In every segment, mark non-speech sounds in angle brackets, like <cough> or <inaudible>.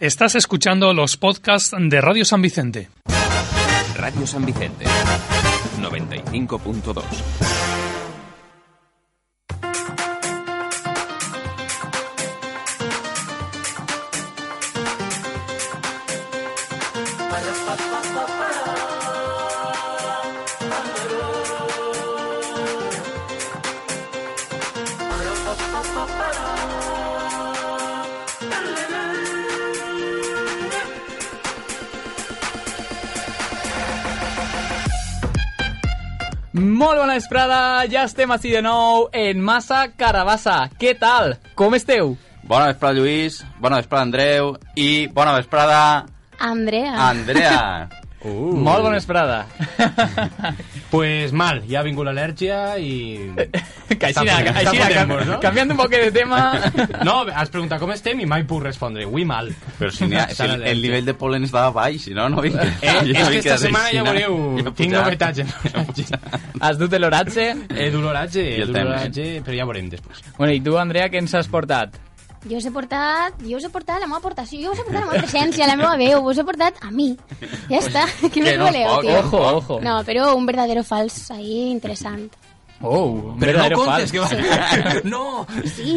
Estás escuchando los podcasts de Radio San Vicente. Radio San Vicente 95.2. Molt bona vesprada, ja estem així de nou en Massa Carabassa. Què tal? Com esteu? Bona vesprada, Lluís. Bona vesprada, Andreu. I bona vesprada, Andrea. Andrea. Uh. Molt bona vesprada. Pues mal, ya vengo la alergia y... que així, Està fotent- així, està fotent molts, no? no? canviant un poquet de tema... <laughs> No, has preguntat com estem i mai puc respondre. Avui mal. Però si, n'hi ha, si el, el nivell de polen estava baix, si no, no <laughs> vinc. Eh, és que esta setmana ja veureu, <laughs> voleu... tinc novetats. en l'oratge. Has dut l'oratge. He doloratge, I he el doloratge, però ja veurem després. Bueno, i tu, Andrea, què ens has portat? Jo us he portat, jo us he portat la meva aportació, jo us he portat la meva presència, la meva veu, us he portat a mi. Ja està, <laughs> què més no és voleu, poc, tio? Ojo, ojo. No, però un verdadero fals ahí interessant. Oh, Però un no verdadero contes, fals. que va... <laughs> No! Sí,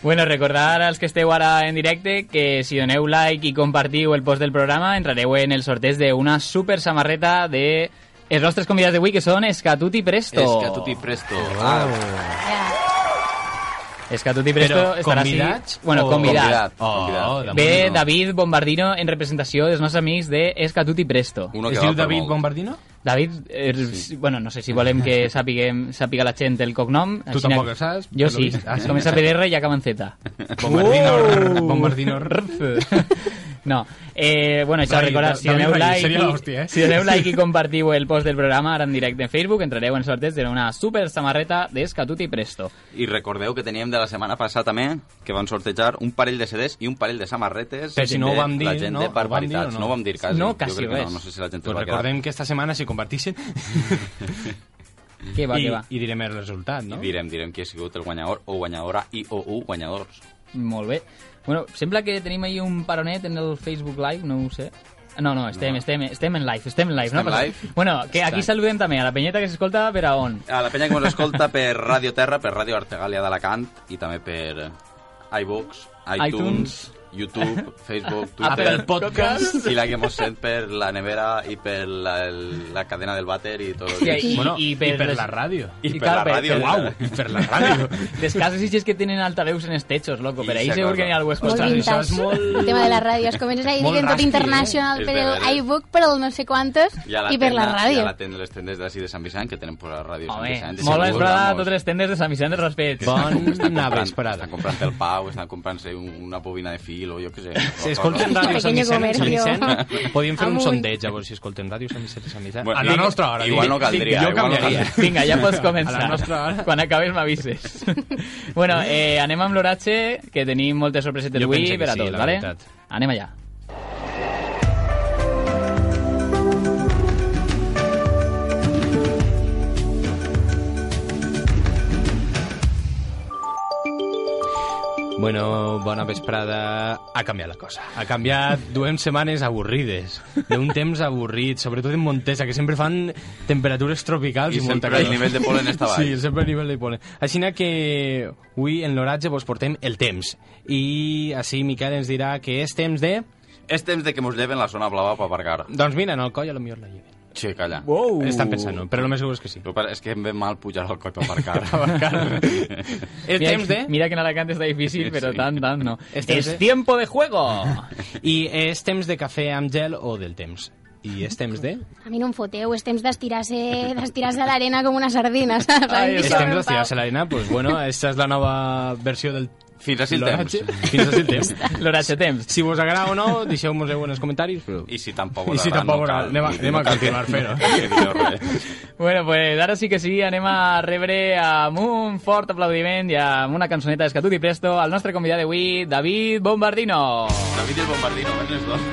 Bueno, recordar als que esteu ara en directe que si doneu like i compartiu el post del programa entrareu en el sorteig d'una super samarreta de els nostres convidats d'avui que són Escatuti Presto. És que a tu t'hi presto. Oh. Ah, ja. Escatuti Presto Però estarà convidats Així... Bueno, o- convidat. Convidat. Oh, Convidat. Ve Bombardino. David Bombardino en representació dels nostres amics de Escatuti Presto. Uno que Es va diu per David molt. <laughs> Bombardino? David, eh, bueno, no sé si volem <laughs> que sàpiguem, sàpiga la gent el cognom. així tampoc que- ho saps, per Jo lo sí. vist. Ah, sí. Comença per R i acaba <laughs> en Z. Bombardino. Oh! <laughs> Bombardino. No, eh, bueno, això, Rai, recordar, David si doneu, Rai, like seria i, l'hòstia, eh? si doneu like i compartiu el post del programa ara en directe en Facebook, entrareu en sorteig d'una super samarreta d'Escatuti Presto. I recordeu que teníem de la setmana passada també que van sortejar un parell de CDs i un parell de samarretes Però si no ho de vam dir, la gent no? de Ho vam barbaritats. dir o no? No ho vam dir quasi. No, Jo quasi crec que res. No, no sé si la gent Pues ho va quedar. recordem que esta setmana si compartixen Que va, i, que va. i direm el resultat, no? I direm, direm qui ha sigut el guanyador o guanyadora i o u guanyadors. Molt bé. Bueno, sembla que tenim ahí un paronet en el Facebook Live, no ho sé. No, no, estem, estem, estem en live, estem en live. Estem no passa- live. Bueno, que aquí saludem també a la penyeta que s'escolta per a on. A la penya que ens escolta per Radio Terra, per Radio Artegàlia d'Alacant i també per iVox, iTunes, iTunes. YouTube, <laughs> Facebook, Apple Twitter, Podcast. i la que mos sent per la nevera i per la, el- la cadena del vàter i tot. I, i, Bueno, i i, per, per les- la ràdio. I i per clar, la per- ràdio. eh? per- Uau! I per la ràdio. Les cases i que tenen altaveus en els techos, loco. I Per ahí s'acorda. segur que n'hi ha algú Molt escoltant. Ostres, això vintage. és molt- El tema de la ràdio. Es comences ahí Molt dient tot rasqui, eh? internacional És per de el veres. iBook, per el no sé quantos, <laughs> I, a la i per la tenda- I a ràdio. la tenda, les tendes d'ací de Sant Vicent, que tenen por la ràdio Sant Home, Vicent. molt segur, vesprada a vamos, totes les tendes de Sant Vicent de Raspets. que estan Bon com- estan comprant- navesprada. Estan comprant el pau, estan comprant-se un- una bobina de fil o jo què sé. Si escolten <laughs> Un Ràdio Sant pequeño Vicent, Sant comercio. Vicent, podíem fer un Amunt. sondeig, a veure si escolten Ràdio Sant Vicent, Sant Vicent. Bueno, a la vinga, nostra hora. igual dic. no caldria, Sí, jo igual no canviaria. caldria. Vinga, ja pots eh, A la començar. nostra hora. Quan acabes m'avises. <laughs> bueno, eh, anem amb l'oratge, que tenim moltes sorpresetes Jo avui penso que per a sí, tots, la vale? veritat. Anem allà. Bueno, bona vesprada. Ha canviat la cosa. Ha canviat duem setmanes avorrides, d'un temps avorrit, sobretot en Montesa, que sempre fan temperatures tropicals I i, molta sempre el calor. nivell de polen està baix. Sí, sempre el nivell de polen. Així que avui en l'oratge vos portem el temps. I així Miquel ens dirà que és temps de... És temps de que mos lleven la zona blava per aparcar. Doncs mira, en el coll a lo millor la lleven. Sí, calla. Wow. Estan pensant, no? però el més segur és <laughs> que sí. El que passa És que em ve mal pujar al coll per <laughs> aparcar. És Mira, temps de... mira que en Alacant está <laughs> difícil, pero Sí. tan, tan no. Es temps ¡Es de- tiempo de juego! <laughs> I és temps de cafè amb gel o del temps. I és temps de... A mi no em foteu, és temps d'estirar-se d'estirar-se a l'arena com una sardina, saps? A mi És temps deixeu-me en pau. d'estirar-se a l'arena, doncs bueno, aquesta és la nova versió del... Fins a si el temps. l'oratge. <laughs> Fins a si el temps. L'oratge temps. Si vos agrada o no, deixeu-nos en els comentaris, però... I si tampoc I si agrada, tampoc no cal. agrada. Anem a- No anem a cal continuar que- fent-ho. <laughs> que digueu res. Bueno, pues ahora sí que sí, anem a rebre amb un fort aplaudiment i amb una cançoneta d'Escatut i Presto al nostre convidat d'avui, David Bombardino. David i el bombardino, eh, ven els dos.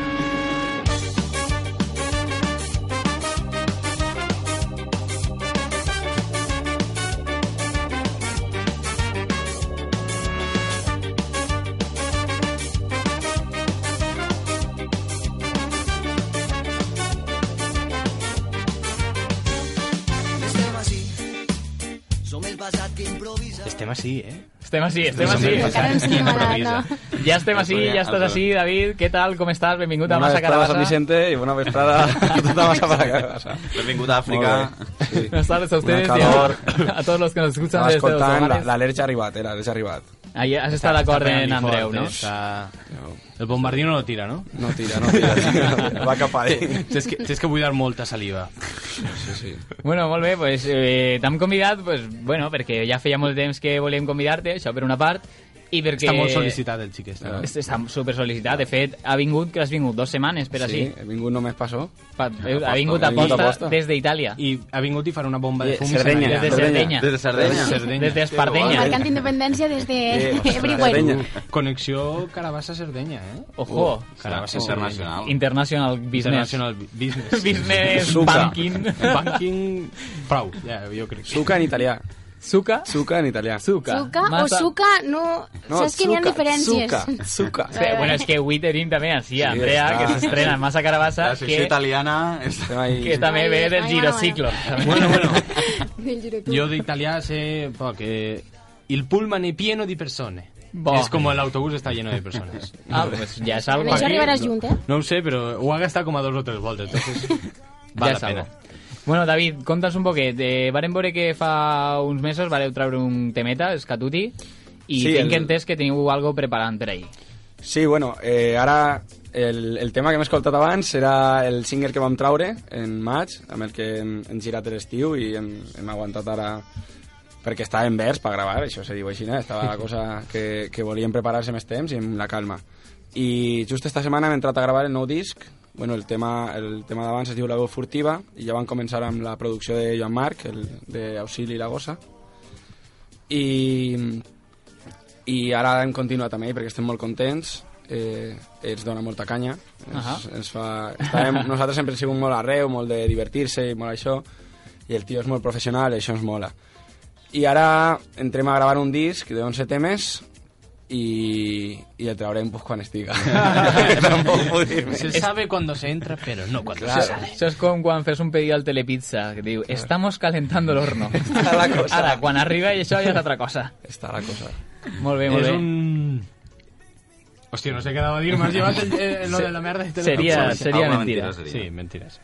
Estem així, eh? Estem així, estem així. Hombre, Encara ens estem agradant, no? Ja estem així, Pues Estoy ja estàs alto. així, David. Què tal, com estàs? Benvingut a Una Massa vesprada a Sant Carabassa. Vicente y una vesprada a tota massa para casa. Benvingut a Àfrica. Sí. Buenas tardes a Una ustedes y calor. <laughs> a, a todos los que nos escuchan Estava desde los escoltant la, hogares. la Lerch ha arribat, eh? La Lerch ha arribat. Ahí has estat d'acord en Andreu, no? Està... El bombardino no tira, no? No tira, no <laughs> tira. <laughs> Va cap a dins. Tens que, tens que buidar molta saliva. Sí, sí. Bueno, molt bé, pues, eh, t'hem convidat pues, bueno, perquè ja feia molt temps que volíem convidar-te, això per una part, i perquè... Està molt sol·licitat eh? el xiquet. Ah. Est- Està super sol·licitat. De fet, ha vingut, que has vingut dos setmanes, per així. Sí, ningú només passó. Pa- eh, Ha vingut a ha vingut a posta posta. des d'Itàlia. I ha vingut i farà una bomba de Eh, fum. i Sardenya. se n'anirà. Des de Sardenya. Des de Sardenya. Sardenya. Des d'Espardenya. Marcant independència des de <laughs> Eh, ostres, everywhere. Sardenya. Connexió Carabassa-Sardenya, eh? Ojo. Carabassa Carabassa-Sardenya. internacional. International business. International <laughs> business. <laughs> Business Suca. banking. <laughs> Banking... Prou, ja, jo crec. Suca en italià. Suca. Suca en italià. Suca. Suca o Massa- suca, no... Saps que n'hi ha suca, diferències. Suca, <laughs> suca. Espera, Eh, Bueno, és que avui tenim també així, sí, Andrea, està. que s'estrena en Massa Carabassa, La secció que, italiana... Està... Estem ahí. que també ve del Ai, girociclo. Bueno, bueno, Del girociclo. jo d'italià sé poc, eh, Il pullman è pieno di persone. Bo. És com l'autobús està lleno de persones. Ah, pues ja és Amb algo això aquí. arribaràs junt, eh? No ho sé, però ho ha gastat com a dos o tres voltes, entonces ja val és la pena. algo. Bueno, David, conta'ns un poquet. Eh, varem veure que fa uns mesos vareu treure un temeta, Escatuti, i Sí, sí, tinc el- entès que teniu algo preparant per ahí. Sí, bueno, eh, ara el, el tema que hem escoltat abans era el single que vam traure en maig, amb el que hem, hem girat a l'estiu i hem, hem aguantat ara perquè estava en vers per gravar, això se diu així, eh? estava la cosa que, que volíem preparar-se més temps i amb la calma. I just esta setmana hem entrat a gravar el nou disc, bueno, el tema, el tema d'abans es diu La veu furtiva, i ja van començar amb la producció de Joan Marc, el, de Auxili i la gossa, i i ara hem continuat amb ell perquè estem molt contents eh, ens dona molta canya ens, Ahà. ens fa... Estàvem, nosaltres sempre hem sigut molt arreu, molt de divertir-se i molt això i el tio és molt professional i això ens mola i ara entrem a gravar un disc de 11 temes i, i el traurem pues, quan estiga tampoc puc dir-me Se sabe cuando se entra, pero no cuando se Claro. sale. Això és com quan fes un pedido al Telepizza, que diu, estamos calentando el horno. Està la cosa. Ara, quan arriba i això ja és altra cosa. està la cosa Molt bé, molt És bé. un... Hòstia, no sé què anava a dir, m'has llevat el, eh, lo de la merda. i te lo- Seria, Sí, seria Alguna mentida. mentira seria. Sí, mentires.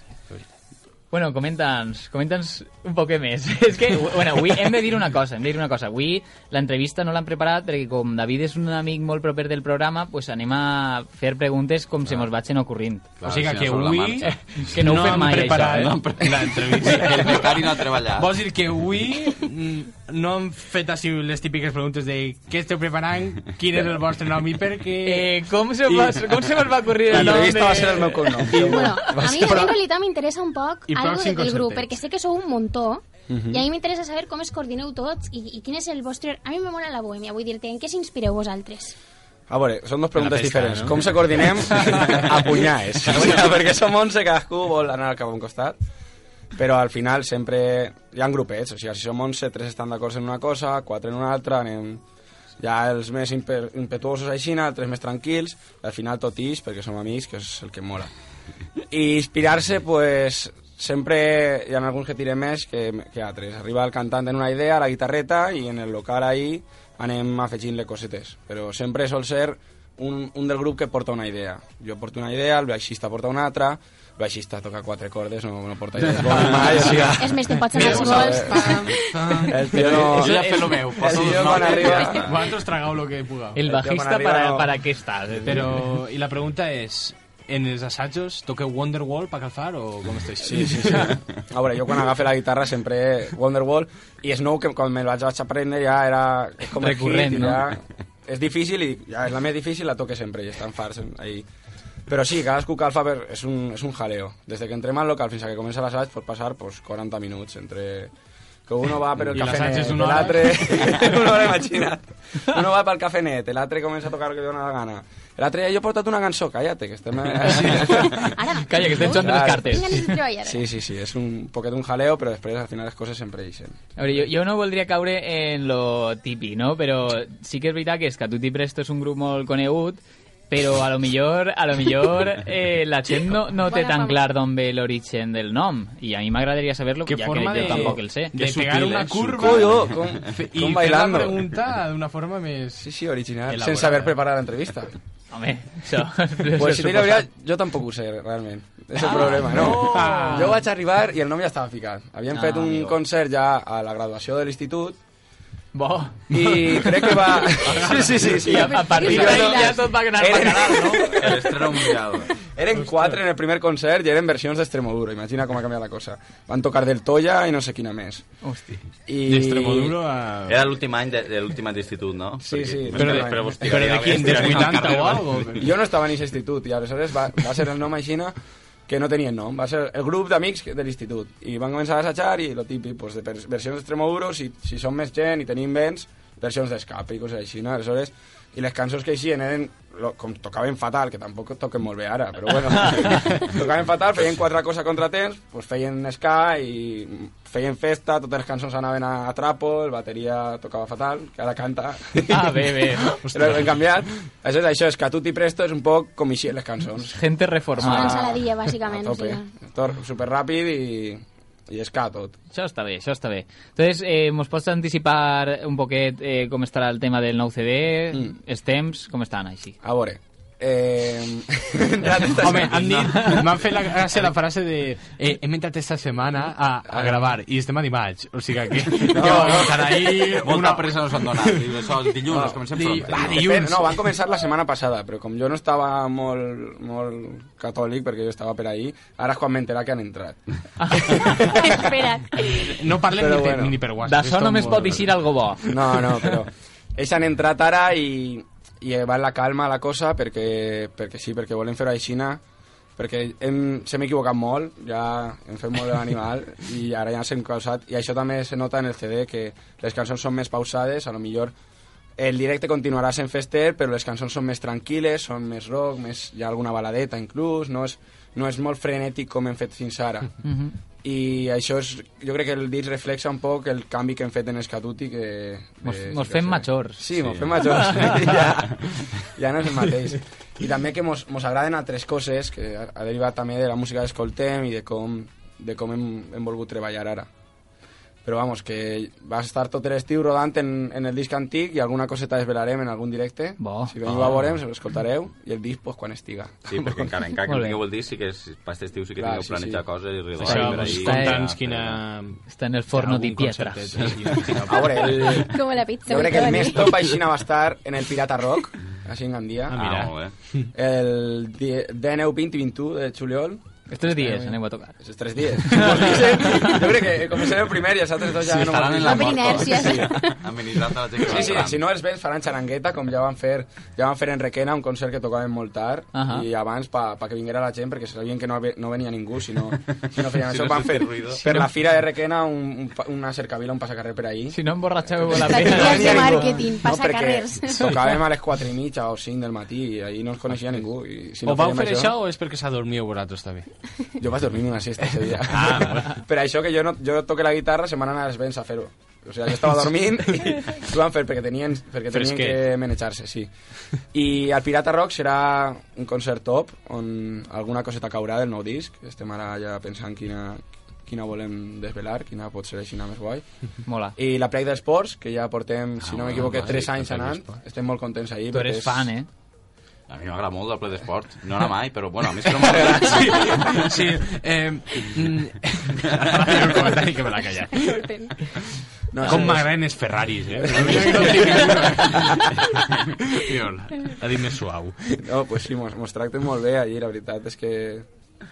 Bueno, comenta'ns, comenta'ns un poc més. <laughs> és que, bueno, avui hem de dir una cosa, hem de dir una cosa. Avui l'entrevista no l'han preparat perquè com David és un amic molt proper del programa, pues anem a fer preguntes com se mos vagin ocorrint. Clar, o sigui si no que sobre la avui... marxa. Que no ho fem han mai, preparat, això, eh? No han <laughs> preparat l'entrevista. El becari no ha treballat. Vols dir que avui mm, no han fet així les típiques preguntes de què esteu preparant, quin és el vostre nom i per què... <laughs> Eh, com, se va, com se mos va ocorrir el nom l'entrevista de... va ser el meu cognom Bueno, a mi en realitat m'interessa un poc I algo pròxim del grup, concertet. perquè sé que sou un muntó, Mhm. i a mi m'interessa saber com es coordineu tots i, i quin és el vostre... A mi me mola la bohèmia, vull dir-te, en què s'inspireu vosaltres? a veure, són dues preguntes festa, diferents. no? Com se coordinem? a punyades. O sigui, <laughs> perquè som 11, cadascú vol anar cap a un costat. Però al final sempre hi ha grupets. O sigui, si som 11, 3 estan d'acord en una cosa, 4 en una altra, anem... Ja els més imper- impetuosos així, altres més tranquils, i al final tot ix, perquè som amics, que és el que mola. I inspirar-se, pues, sempre hi ha alguns que tirem més que, que altres. Arriba el cantant en una idea, la guitarreta, i en el local ahí anem afegint-le cosetes. Però sempre sol ser un, un del grup que porta una idea. Jo porto una idea, el baixista porta una altra, el baixista toca quatre cordes, no, no porta <laughs> idees bones mai, o És sigui... més, te'n pots anar als vols. <laughs> El tio no... Jo ja he fet lo meu. El Poso tio dos quan noms. <laughs> <laughs> arriba... Vosaltres tragau lo que pugau. El quan bajista arriba para, no- para què estàs? Però, i la pregunta és, en els assajos toqueu Wonderwall per calfar o com esteu? Sí, sí, sí. A veure, jo quan agafe la guitarra sempre Wonderwall i és nou que quan me la vaig- vaig aprendre ja era... És com el Recurrent, hit, i no? ja, és difícil i ja és la més difícil, la toque sempre i estan farts ahí. Però sí, cadascú que alfa per- és un, és un jaleo. Des de que entrem al local fins a que comença l'assaig pot passar pues, 40 minuts entre que uno va per el I l'assaig cafenet, és una hora. l'altre... <laughs> una hora, imagina't. Uno va pel cafenet, l'altre comença a tocar el que li dona la gana. L'altre dia jo he portat una cançó, callate, que estem... <laughs> Ara, Calla, que estem jugant Clar. de les Tinc cartes. ganes de treballar. Sí, sí, sí, és un poquet un jaleo, però després al final les coses sempre deixen. A veure, jo, jo no voldria caure en lo tipi, no? Però sí que és veritat que és que Tutti Presto és un grup molt conegut però a lo millor, a lo millor eh, la gent no, no té Bona tan fama. clar d'on ve l'origen del nom i a mi m'agradaria saber-lo, Qué ja que forma jo de, tampoc el sé. de Qué pegar sutil, una eh, curva sutil. Coño, con, <laughs> con y fer la bailando. pregunta d'una forma més... Sí, sí, original. Elaborada. Sense haver preparat la entrevista. Home, això... això Pues si te dic suposa- la veritat, jo tampoc ho sé, realment. És el problema, no? Ah. Jo vaig arribar i el nom ja estava ficat. Havíem Ah, fet un amigo. concert ja a la graduació de l'institut Bo. i crec que va... Sí, sí, sí. I <laughs> a, a partir I jo d'ahí no- ja tot va anar Eren- per canal, <laughs> no? El estreno mundial. Eren quatre en el primer concert i eren versions d'Extremoduro. Imagina com ha canviat la cosa. Van tocar del Toya i no sé quina més. Hosti. I... D'Extremoduro a... Era l'últim any de, de l'últim any d'institut, no? Sí, sí. Però de, Però- però, però de quin? Dels 80 o algo? <laughs> Jo no estava en aquest institut i aleshores va, va ser el nom aixina que no tenien nom, va ser el grup d'amics de l'institut i van començar a assajar i lo típic, pues, de per- versions d'Extremoduro si, si som més gent i tenim vents versions d'escape i coses així, no? aleshores i les cançons que eixien eren lo, com tocaven fatal, que tampoc toquen molt bé ara però <laughs> bueno, tocaven fatal feien quatre coses a contratemps, pues feien ska i feien festa, totes les cançons anaven a, a trapo, el bateria tocava fatal, que ara canta Ah, bé, bé. però hem canviat. Això és això, és que Tutti Presto és un poc com així les cançons. Gente reformada. Ah. ensaladilla, bàsicament, A tope. sí. Tor, superràpid i, i esca tot. Això està bé, això està bé. Entonces, eh, mos pots anticipar un poquet eh, com estarà el tema del nou CD, Mm. els temps, com estan així? A veure. Eh... <laughs> ja t'estàs Home, sentint, han dit, no? <laughs> m'han fet la gràcia la frase de eh, hem entrat esta setmana a, a gravar i estem a dimarts, o sigui que, que no, no. <laughs> carai, Molta una... pressa nos han donat. I això, els dilluns, els comencem Di- pronte. va, no? di- Depèn, dilluns. no, van començar la setmana passada, però com jo no estava molt, molt catòlic, perquè jo estava per ahir, ara és quan m'enterà que han entrat. <laughs> Espera't. no parlem Però ni, bueno. bueno. ni per WhatsApp. D'això només pot eixir algo bo. No, no, però ells han entrat ara i, i va la calma la cosa perquè, perquè sí, perquè volem fer-ho a Xina perquè hem, s'hem equivocat molt, ja hem fet molt de l'animal i ara ja ens hem causat, i això també se nota en el CD, que les cançons són més pausades, a lo millor el directe continuarà sent fester, però les cançons són més tranquil·les, són més rock, més, hi ha alguna baladeta inclús, no és, no és molt frenètic com hem fet fins ara. Mhm. I això és, jo crec que el disc reflexa un poc el canvi que hem fet en Escatuti que... Mos- de- mos sí, fem sí. majors. Sí, mos fem <laughs> majors. <laughs> ja, ja no és el mateix. I també que mos, mos agraden altres coses, que ha ha derivat també de la música que escoltem i de com, de com hem, hem volgut treballar ara. Però vamos, que vas estar tot l'estiu rodant en, en el disc antic i alguna coseta desvelarem en algun directe. Bo. Si veniu a veurem, se l'escoltareu i el disc pues, quan estiga. Sí, perquè encara, encara que no Molt bé. tingueu el disc, sí que és, per aquest estiu sí que Clar, tingueu sí, planejar sí. coses i rodar. i Això, per vos ahí, conta'ns ja, quina... Està en el forno di algun piedra. concepte, sí, quina- <laughs> A veure, el, <laughs> Com la pizza. jo crec que el Toni. més top aixina va estar en el Pirata Rock, així en Gandia. Ah, Ah, mira. molt bé. el die- 19, 20 i 21 de juliol, Els tres dies anem a tocar. els tres <laughs> dies. Pues dicen, jo crec que començarem el primer i els altres dos ja Sí, no estaran m'han en dit. la Per mort. inèrcia. Sí, amenitzant a la gent que Sí, sí, va al si no els vells faran xarangueta, com ja van fer, ja van fer en Requena, un concert que tocaven molt tard, Ahà. i abans pa, pa que vinguera la gent, perquè sabien que no, ve- no venia ningú, si no, si no feien <laughs> Si això, no van sentia fer ruido. per la fira de Requena un, un, pa- una cercavila, un passacarrer per ahí. Si no emborratxeu la pena. Estratègies de màrqueting, No, passa perquè carrers. Tocàvem a les 4 i mitja o 5 del matí i ahir no ens coneixia ningú. I si no o vau fèiem fer això o és perquè s'ha dormit vosaltres <laughs> també? Jo vaig dormir una siesta ese dia. <laughs> Ah, per això que jo, no, jo toque la guitarra, se m'han anat els vents a fer-ho. O sigui, jo estava dormint i ho van fer perquè tenien, perquè tenien Fresquet. que manejar-se, sí. I el Pirata Rock serà un concert top on alguna coseta caurà del nou disc. Estem ara ja pensant quina, quina volem desvelar, quina pot ser així més guai. Mola. I la Play d'Esports, que ja portem, si no m'equivoque, ah, 3 sí, anys Play anant. d'Esports. Estem molt contents ahir. Tu eres fan, eh? camp. A mi m'agrada molt el ple d'esport. No anar mai, però bueno, a mi és que no m'agrada. Sí, sí. Eh, mm, ara faré un comentari que me l'ha callat. Surten. No, Com sí, m'agraden els Ferraris, <laughs> eh? Ha dit més suau. No, pues sí, mos, mos tracten molt bé allí, la veritat és que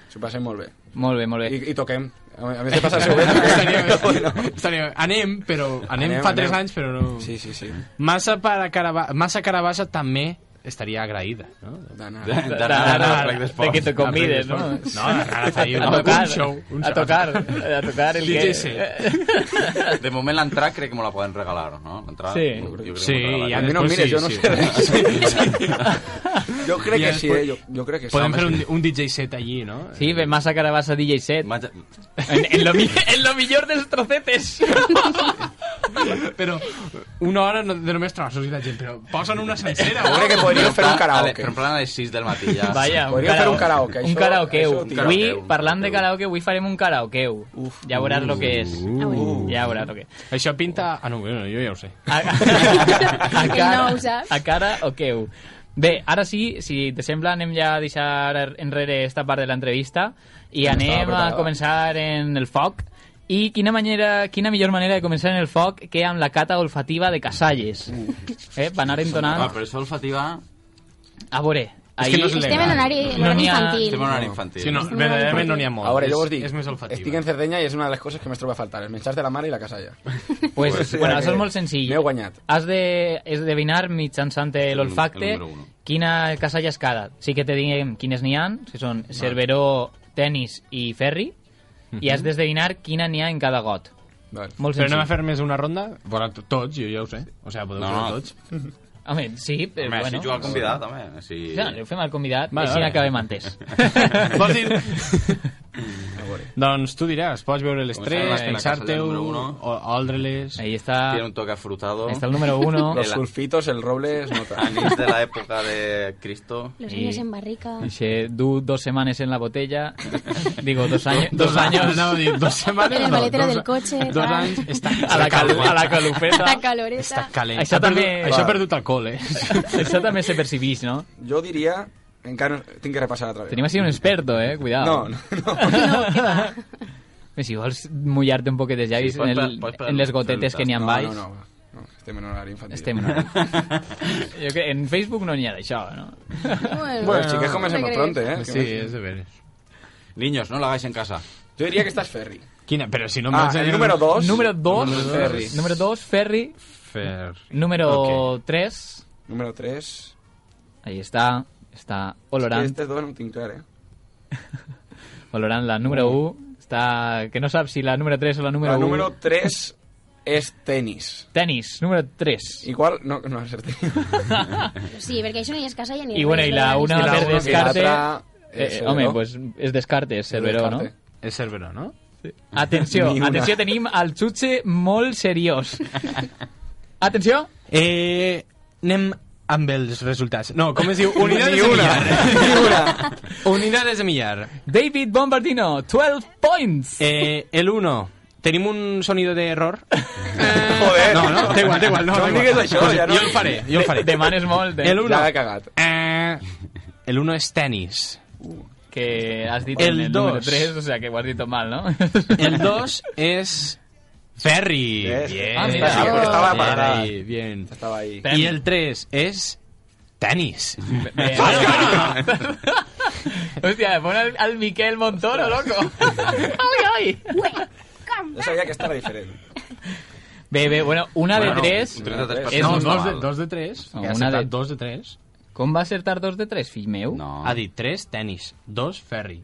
s'ho passem molt bé. Molt bé, molt bé. I, i toquem. A a més de passar-s'ho <laughs> bé, <laughs> toquem. Estaria, estaria, anem, però anem, Anem, fa 3 anem. anys, però no... Sí, sí, sí. Massa, para Carava... Massa Carabassa també estaria agraïda, no? D'anar. D'anar D'anar- al ple de que d'esport. te convides, no? No, ara faria a un, tocar, un show. Un a show. tocar, a tocar el que... DJ set. De moment l'entrada crec que me la poden regalar, no? L'entrada... <laughs> Sí. jo crec que Sí, me la regalaran. i A mi no em després mires, sí, jo no sí. sé res. Jo crec I que sí, després- eh? Jo, jo crec que sí. <laughs> Podem Home, fer sí. un, un DJ set allí, no? Sí, ve massa carabassa DJ set. Vaig a- <laughs> En, en, lo, mi- en lo millor dels trocetes. però una hora no- de només trossos i la gent, però posen una sencera. Jo crec que Però podríem en fer un plan- a karaoke. Però en plan a les 6 del Ah, matí <laughs> ja. Vaja, Podríem fer un karaoke, Un això- karaoqueu. això tira. avui, Karaoke, un parlant de karaoke. karaoke, avui farem un karaoqueu. Uf, ja veuràs el que és. Ja veuràs el que és. Això pinta... Ah, no, bueno, jo ja ho sé. A, Ell no ho sap. a cara o queu. Bé, ara sí, si te sembla, anem ja a deixar enrere esta part de l'entrevista i anem a preparada. començar en el foc. I quina, manera, quina millor manera de començar en el foc que amb la cata olfativa de Casalles. Eh, va anar Ah, entonant... però això olfativa... A veure, És que no és Estem en legal. horari, No horari n'hi ha- infantil. Estem en horari infantil. Sí, no, verdaderament no n'hi ha molt. A veure, jo És- vos dic, És més olfativa. estic en Cerdanya i és una de les coses que més trobo a faltar, els menjars de la mare i la casalla. Pues, Pues sí, bueno, ja això és que molt senzill. m'he guanyat. Has de esdevinar mitjançant l'olfacte el número uno. quina casalla és cada. Sí que te diguem quines n'hi han, que són Cerveró, Tenis i Ferri, i has d'esdevinar quina n'hi ha en cada got. Vale. Molt Però senzill. anem a fer més una ronda? Vora tots, jo ja ho sé. O sigui, podeu No, no, no. tots. Home, sí, però Home, bueno. així juga el convidat, home. Així... Ja, ho fem al convidat, Vale, vale, així vale. acabem <laughs> antes. Vols dir... doncs tu diràs, pots veure les Com tres, sabem que la casa és pensar-te-ho, el número uno. o- oldre-les... Ahí està, Tiene un toque afrutado. està el número <laughs> uno. Los sulfitos, el roble, es nota. <laughs> Anís de la época de Cristo. Los I- niños en barrica. Eixe, du dos setmanes en la botella. Digo, dos anys. Dos, Dos anys. anys, no, dir, dos setmanes, En el no, maletero dos- del cotxe, Dos tal. anys, <laughs> està, A la, cal, a la <laughs> calufeta. La caloreta. està calent. Això Ha perdut- també- Això Va. ha perdut alcohol, <laughs> eh? Això també se percibix, no? Yo diría, encara no- tinc que repassar altra vegada. Tenim així un experto, eh? Cuidado. Pues No, no, <laughs> no. Bé, si vols mullar-te un poquet de llavis Sí, en, pots el, pa- pots parar en les un gotetes minut, que Este n'hi ha no, en no, baix, no, va. no, estem en horari infantil. <laughs> estem... Jo crec, en Facebook no n'hi ha d'això, no? Bueno, Bueno, sí que comencem no molt crec. pronto, eh? Sí, és de veres. Niños, no lo hagáis en casa. Jo diria que estàs ferri. Quina? Però si no em Ah, vaig a el dir- número 2. Número 2, Ferri. número 2, Ferri. Fer... Número 3, Número 3. ahí està, està olorant, Aquestes dos no ho tinc clar, eh? olorant la número 1, està... que no sap si la número 3 o la número La 1. número 3 és tenis. Tenis, número 3. Igual, no, no acerté. Sí, perquè això ni és casa ja ni... I bueno, i la una I la per una, descarte... i l'altra, eh, Eh, Cerveró. home, pues és descarte, és Cerveró, no? Descarte. És Cerveró, no? Atenció, Ni una. atenció, tenim el xutxe molt seriós. Atenció, Eh, anem amb els resultats. No, com es diu? Unidades Ni de una, millar. ni una. <laughs> Unidades de millar. David Bombardino, 12 points. Eh, el 1. Tenim un sonido de error. Joder. No, no, da igual, da igual. No, No da em igual. diguis això, Pues ja no. Jo el faré, jo el faré. Demanes molt, eh? El Ja 1. l'he cagat. Eh, el 1 és tenis. Que has dit El en el dos. número 3, o sea que ho has dit tot mal, no? El 2 és ferri. Yes. Bien. Ah, mira, sí, bien, però estava bien parada. ahí, bien. Estava ahí. Tenis. I el 3 és tenis. <laughs> Ah, Bé, <laughs> Hòstia, pon al, al Miquel Montoro, loco. Ai, ai. Jo sabia que esta era diferent. <laughs> Bé, bé, bueno, una de Bueno, tres... Un 33% És No, un dos de, dos de 3. No, No, una de- 2 de 3. Com va acertar dos de tres, fill meu? No. Ha dit 3, tenis. 2, ferri.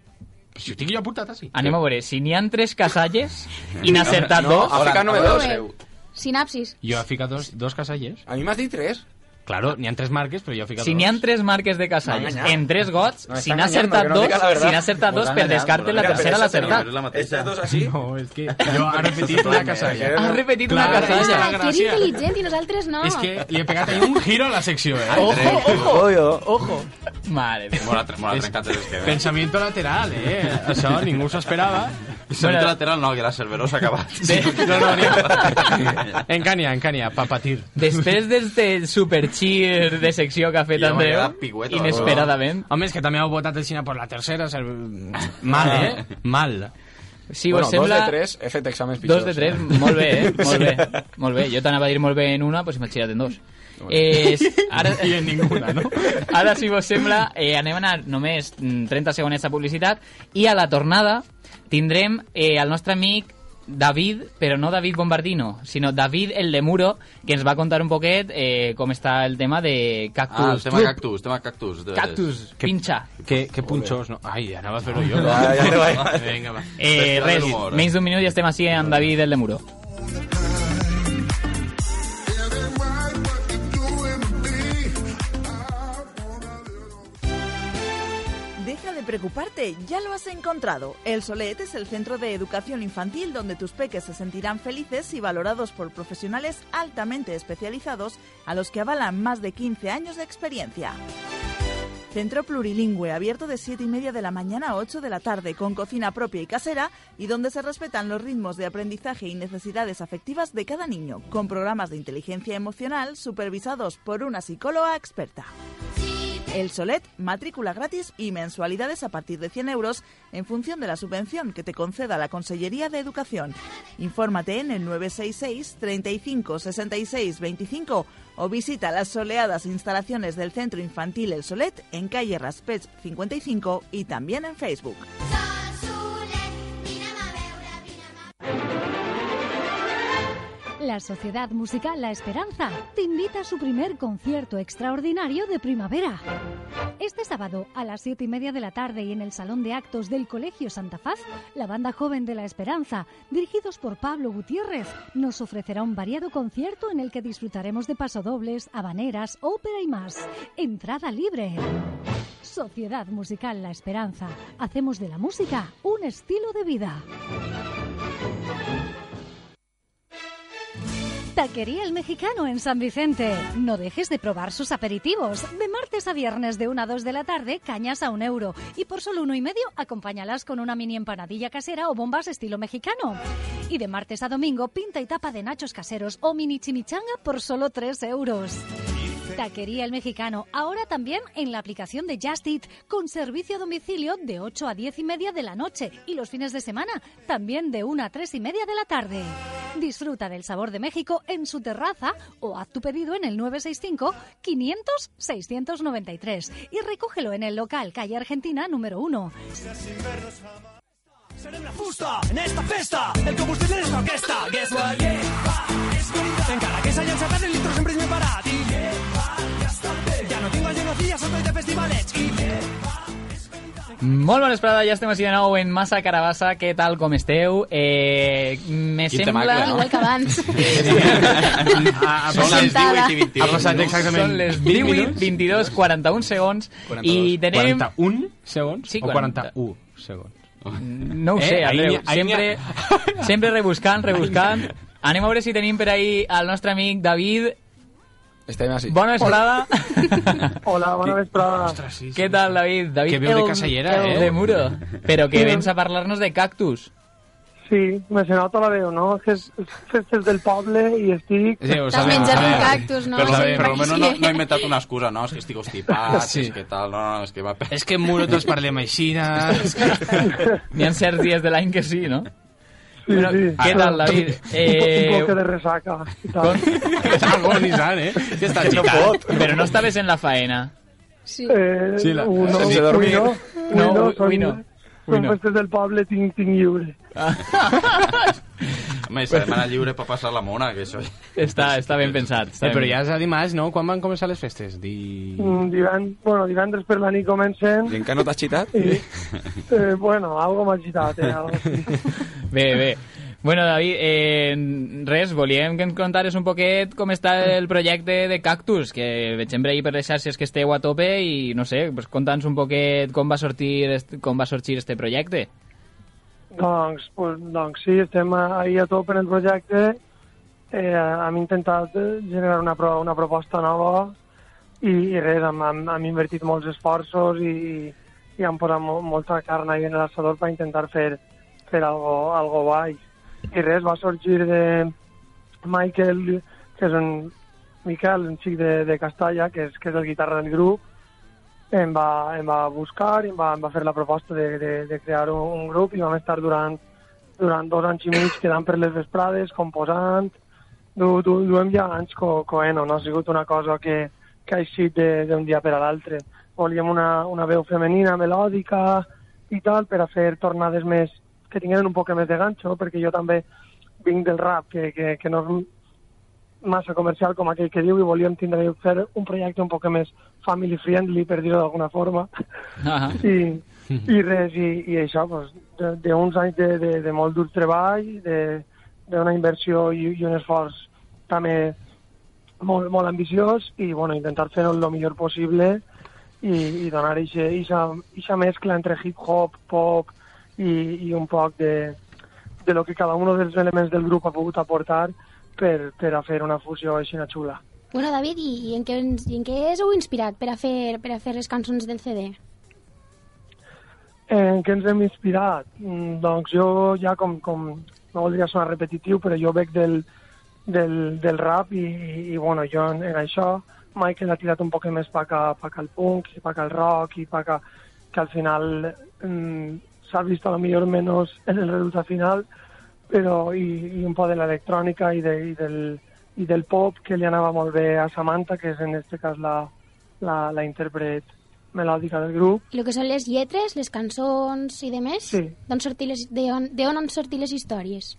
Però si ho tinc jo apuntat ah, així. Anem a veure, si n'hi han tres casalles i n'ha acertat No, dos... ha ficat número dos, Joder. eh? Sinapsis. Jo he ficat dos, dos casallers. A mi m'has dit tres. Claro, n'hi ha tres marques, però jo he ficat Si dos. n'hi han tres marques de casalles M'ha enganyat. en tres gots, No, m'està si n'ha enganyant, acertat perquè no dos, diga la verdad. si n'ha acertat dos, per descarte la Mira, tercera l'ha però esta acertat. no, és la mateixa. Estas dos así. No, és <laughs> que jo ara he repetit una casalla. Has repetit una Clar, casalla. Ah, que és intel·ligent i nosaltres no. És que li he pegat ahí un giro a la secció, eh? Ojo, ojo, Ojo. ojo. Mare meva. Mola, mola trencat els esquemes. Pensamiento lateral, eh? Això ningú s'ho esperava. Centre Bueno. lateral no, que la Ah, Cerveró s'ha <laughs> acabat. De, No, no, <laughs> n'hi ha. Encània, encània, pa patir. després d'este este super cheer de secció que ha fet Jo m'he Andreu, quedat pigueto, inesperadament, Home, és que també heu votat el Xina per la tercera. ser- Mal, eh? Mal. si bueno, us sembla... dos de tres, he fet exàmens pitjors. Dos de tres, molt bé, <laughs> eh? Molt bé, molt bé. Jo t'anava a dir molt bé en una, però m'he tirat en dos. Eh, <laughs> ara... I en ninguna, no? <laughs> Ara, si vos sembla, eh, anem a anar només mm, 30 segonets de publicitat i a la tornada tindrem eh, el nostre amic David, però no David Bombardino, sinó David el de Muro, que ens va contar un poquet eh, com està el tema de Cactus. Ah, el tema Club. cactus, tema cactus. este de veres. Cactus, Que- pinxa. Que, que punxos, no? Ai, anava a fer-ho jo. Ah, ja te va. Vinga, va. Eh, Festival res, de l'humor. menys d'un minut i estem així amb David el de Muro. Deja de de preocuparte, ya lo has encontrado. El Solet es el centro de educación infantil donde tus peques se sentirán felices y valorados por profesionales altamente especializados a los que avalan más de 15 años de experiencia. Centro plurilingüe abierto de 7 y media de la mañana a 8 de la tarde con cocina propia y casera y donde se respetan los ritmos de aprendizaje y necesidades afectivas de cada niño, con programas de inteligencia emocional supervisados por una psicóloga experta. El Solet, matrícula gratis y mensualidades a partir de 100 euros en función de la subvención que te conceda la Consellería de Educación. Infórmate en el 966 35 66 25 o visita las soleadas instalaciones del Centro Infantil El Solet en calle Raspets 55 y también en Facebook. La Sociedad Musical La Esperanza te invita a su primer concierto extraordinario de primavera. Este sábado, a las siete y media de la tarde y en el Salón de Actos del Colegio Santa Faz, la banda joven de La Esperanza, dirigidos por Pablo Gutiérrez, nos ofrecerá un variado concierto en el que disfrutaremos de pasodobles, habaneras, ópera y más. Entrada libre. Sociedad Musical La Esperanza. Hacemos de la música un estilo de vida. Taquería El Mexicano en San Vicente. No dejes de probar sus aperitivos. De martes a viernes de 1 a 2 de la tarde, cañas a un euro. Y por solo uno y medio, acompáñalas con una mini empanadilla casera o bombas estilo mexicano. Y de martes a domingo, pinta y tapa de nachos caseros o mini chimichanga por solo 3 euros. Taquería El Mexicano, ahora también en la aplicación de Just Eat, con servicio a domicilio de 8 a 10 y media de la noche y los fines de semana también de 1 a 3 y media de la tarde. Disfruta del sabor de México en su terraza o haz tu pedido en el 965-500-693 y recógelo en el local Calle Argentina número 1. Molt bona esperada, ja estem així de nou en Massa Carabassa. Què tal, com esteu? Eh, me Quin sembla... temacle, no? Igual que abans. ah, Ha, ha passat Són les sentada. 18 i 21. Ha passat exactament Són les 18, 22, 41 segons i tenim... 41 segons Sí, o 40. 41 segons? No ho sé, Eh, ahí Andreu. n'hi ha- ahí sempre, <laughs> sempre rebuscant, rebuscant. Anem a veure si tenim per ahí el nostre amic David. Este año así. Bona vesprada. <laughs> Hola, bona vesprada. Ostres, sí. Què tal, David? David Que veu de el- casellera, el eh? de Muro. Però que vens a parlar-nos de cactus. Sí, me se nota la veu, no? Que és és festes del poble i estic... Sí, ho T'has sabem, ho menjat un sabem. cactus, no? Pero, Sí, pero al menos no, sí. no he inventado una excusa, no, es que estoy constipado, Sí. es que tal, no, no, es que va a pe- És que en Muro tots parlem així. <laughs> <laughs> N'hi ha certs dies de l'any que sí, no? Sí, Bueno, sí. què tal, David? Eh... Un Eh, poc de ressaca i tal. com- És agonitzant, eh? Que està xicant. però no estaves en la faena. Sí. Eh, Sí, la- ui, no, sense ui, dormir. No, No, ui, no, ui, són, ui, no. Ui, Són no. festes este del poble, tinc, tinc lliure. Me semana libre para pasar la mona, que soy. <laughs> Està, està ben pensat. Està Eh, ben però pensat. ja és a dimarts, no? Quan van començar les festes? Di... Mm, Divend... Bueno, divendres per la nit comencen ¿Y en qué no t'has chitat? i, eh, bueno, algo m'ha agitat, eh? Algo. així. Bé, bé. Bueno, David, eh, res, volíem que ens contares un poquet com està el projecte de Cactus, que veig sempre ahir per les xarxes que esteu a tope i, no sé, pues, conta'ns un poquet com va sortir est- com va sorgir este projecte. Doncs, pues, doncs sí, estem ahir a tope en el projecte. Eh, hem intentat eh, generar una, pro una proposta nova i, i res, hem, hem, hem invertit molts esforços i, i hem posat mo molta carn ahí en l'assador per intentar fer, fer algo, algo guai. I res, va sorgir de Michael, que és un Miquel, un xic de, de Castalla, que és, que és el guitarra del grup, em va, em va buscar i em va, em va fer la proposta de, de, de crear un, un grup i vam estar durant, durant dos anys i mig quedant per les vesprades, composant, du, du, duem ja anys co, coeno, no ha sigut una cosa que, que ha eixit de- d'un dia per a l'altre. Volíem una, una veu femenina, melòdica i tal, per a fer tornades més que tinguin un poc més de ganxo, perquè jo també vinc del rap, que, que, que no és massa comercial com aquell que diu i volíem tindre i fer un projecte un poc més family friendly, per dir-ho d'alguna forma. Ah, <laughs> I, i res, i, i això, doncs, de- d'uns anys de, de, de molt dur treball, de- d'una inversió i, i un esforç també molt, molt ambiciós i bueno, intentar fer-ho el millor possible i, i donar aquesta mescla entre hip-hop, pop i, i un poc de, de lo que cada un dels elements del grup ha pogut aportar per, per a fer una fusió així de xula. Bueno, David, i, i en, què, ens- i en què us heu inspirat per a fer, per a fer les cançons del CD? En què ens hem inspirat? Mm, Doncs jo ja com, com no voldria sonar repetitiu, però jo bec del, del, del rap i, i, i bueno, jo en, en això Michael ha tirat un poc més pa que, pa que el punk i pa que el rock i pa que, que al final mm, s'ha vist a lo millor menys en el resultat final però i, i un poc de l'electrònica i, de, i, del, i del pop que li anava molt bé a Samantha que és en este cas la, la, la intèrpret melòdica del grup El que són les lletres, les cançons i demés? Sí. D'on sortir les- de on, de on han sortit les històries?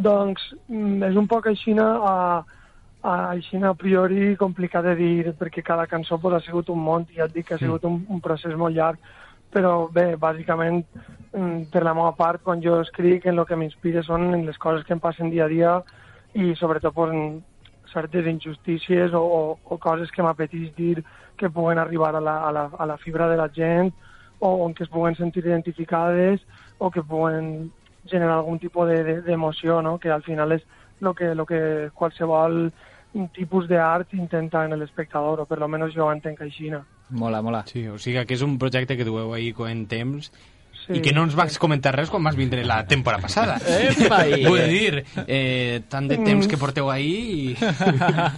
Doncs mm, és un poc aixina a, a, aixina a priori complicat de dir, perquè cada cançó pues, ha sigut un món, i ja et dic que ha sigut un, un procés molt llarg, però bé, bàsicament, mm, per la meva part, quan jo escric, en el que m'inspira són en les coses que em passen dia a dia i sobretot pues, en certes injustícies o, o, o coses que m'apetís dir que puguen arribar a la, a, la, a la fibra de la gent o en què es puguen sentir identificades o que puguen generar algun tipus de- de- d'emoció, no? que al final és el que, lo que qualsevol tipus d'art intenta en l'espectador, o per lo menos jo entenc així. no? Mola, mola. Sí, o sigui que és un projecte que dueu ahir en temps Sí. i que no ens vas comentar res quan vas vindre la temporada passada. Epa, i- Vull dir, eh, tant de temps que porteu ahir... I...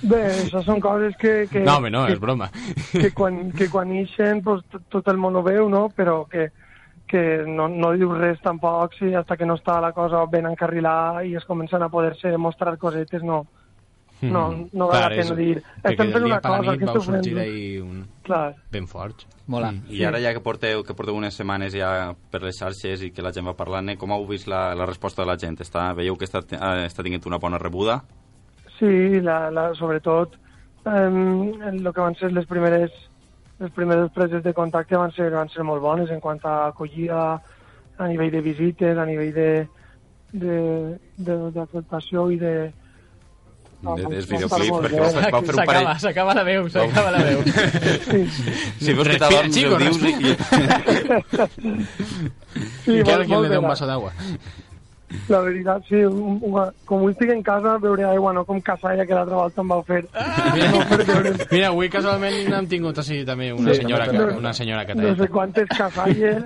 Bé, això són coses que... <laughs> que No, home, no, que, és broma. que quan, que quan ixen pues, tot- tot el món ho veu, no? però que, que no, no diu res tampoc si hasta que no està la cosa ben encarrilada i es comencen a poder-se mostrar cosetes, no. No, no val la pena dir. Estem fent una cosa, que vau estem sortir fent... d'ahir un... Clar. ben forts. Mola. I ara ja que porteu, que porteu unes setmanes ja per les xarxes i que la gent va parlant, eh, com heu vist la, la resposta de la gent? Està, veieu que està, eh, està tinguent una bona rebuda? Sí, la, la, sobretot em, en el que van ser les primeres les primeres preses de contacte van ser, van ser molt bones en quant a acollida, a nivell de visites, a nivell de de- de- d'acceptació i de... De, van des estar videoclip, molt perquè bé. vau fer, vau fer un parell... S'acaba, s'acaba la veu, s'acaba la veu. Si veus que Respira, t'adorms, chico, ho dius eh, i... Sí, I que molt, alguien molt le dé bé, un la- vaso d'aigua. La veritat, sí, un, una, com avui estic en casa, beuré aigua, no com casalla que l'altra volta em vau fer. Ah! Em vau fer beure Mira, avui casualment hem tingut així també una Sí, senyora, que, també. una senyora que no sé quantes casalles